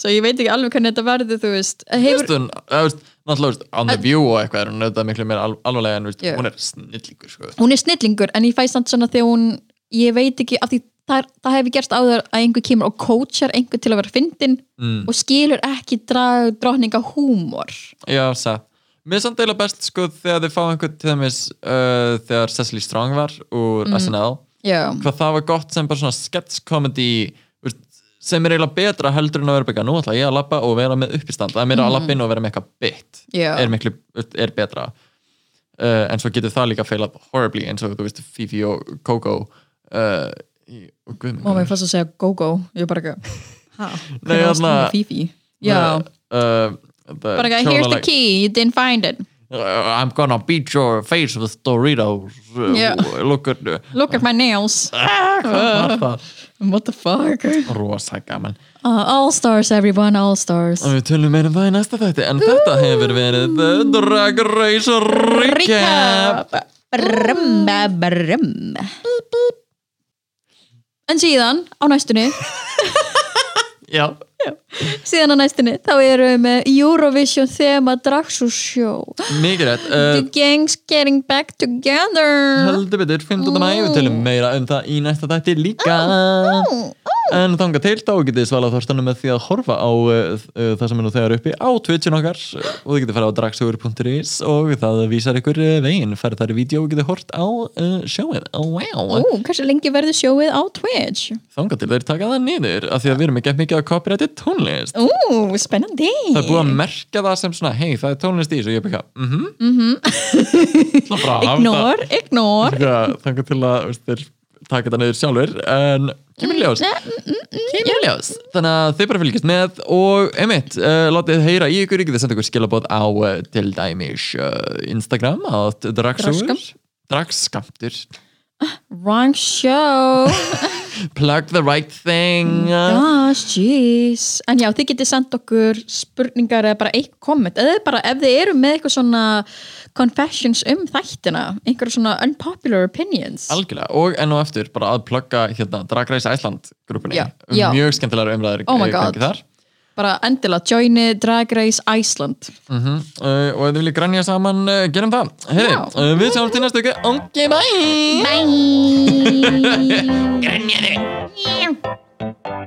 B: svo ég veit ekki alveg hvernig þetta verður þú veist, Eh, hefur,
C: Stund, uh, veist, náttúrulega, veist, on the view og eitthvað er hún auðvitað miklu meira al alvarlega en veist,
B: Já.
C: hún er snillíkur sko.
B: hún er snillingur en ég fæ samt svona þegar hún ég veit ekki, af því það, er- það hefur gerst áður að einhver kemur og coachar einhver til að vera fyndin
C: mm.
B: og skilur ekki drag, drotninga húmor
C: Já, satt. Mér er samt deila best sko þegar þið fá einhvern til dæmis uh, þegar Cecily Strong var úr
B: Mhm.
C: SNL
B: já,
C: hvað það var gott sem bara svona sketch comedy þú veist, sem er eiginlega betra heldur en að vera bara eitthvað, nú ætla ég að lappa og vera með uppistand það er meira að lappa inn og vera með eitthvað bytt
B: Mhm. Já.
C: er, miklu, þú veist, er betra uh, en svo getur það líka feilað horribly eins og þú veist Fifi og Coco uh, í, og guðminn
B: og mér fannst að segja go-go ég bara ekki, hæ, hvernig
C: þarna-
B: varst hún með Fifi já,
C: uh, the
B: bara ekki,
C: kjóla-
B: here's the key, you didn't find it
C: uh, I'm gonna beat your face with Doritos uh,
B: Yeah.
C: look at
B: look at my nails [laughs]
C: uh,
B: what the fuck
C: rosa gaman
B: Uh, all stars everyone, all stars
C: og við tölum meira um það í næsta þætti en þetta hefur verið The Drag Race Recap
B: Recap Brum, brum En síðan á
C: [laughs]
B: næstunni
C: já,
B: síðan á næstunni, þá erum við með Eurovision thema Draxus show
C: mikið rétt uh,
B: The gang's getting back together
C: heldur betur, 15. mæ, við tölum meira um það í næsta þætti líka
B: Ó, ó,
C: en þanga til þá getið svalað þorstanum með því að horfa á uh, uh, það sem er nú þegar uppi á Twitchin okkar uh, og þið getið farið á dragsugur.is og það vísar ykkur uh, veginn, farið þar í vídeo og getið hort á uh, sjóið oh,
B: ó,
C: wow.
B: Hversu lengi verður sjóið á Twitch?
C: þanga til þeir taka það niður af því að við erum ekki mikið að copyrighti tónlist
B: Ú, spennandi
C: það er búið að merka það sem svona hei það er tónlist í þessu og ég byrja mhm mm mm -hmm.
B: Ignore, ignore
C: þanga til að veist, þeir taka þetta niður sjálfur en kemur
B: Mm,
C: í ljós kemur í ljós þannig að þið bara fylgjast með og einmitt, uh, látið heyra í ykkur ykkur þið senda ykkur skilaboð á uh, til dæmis uh, Instagram að dragsugur
B: Dragskam-
C: dragskamtur
B: Wrong show
C: plug the right thing
B: Mm,
C: uh,
B: Gosh, jeez En já, þið getið sendt okkur spurningar eða bara eitthvað komment eða bara ef þið eru með eitthvað svona confessions um þættina einhver svona unpopular opinions
C: algjörlega og enn og eftir bara að plugga hérna, dragreisa Æsland grúpunni
B: Já, já.
C: mjög skemmtilegar umræður
B: Oh my
C: í gangi
B: God.
C: þar
B: bara endilega joini Drag Race Iceland
C: uh, og ef þið viljið grænja saman uh, gerum það, heyri,
B: Já.
C: uh, við sjáum til næstu ykkur, ok, bye
B: Bye
C: grænjaði
B: Meow.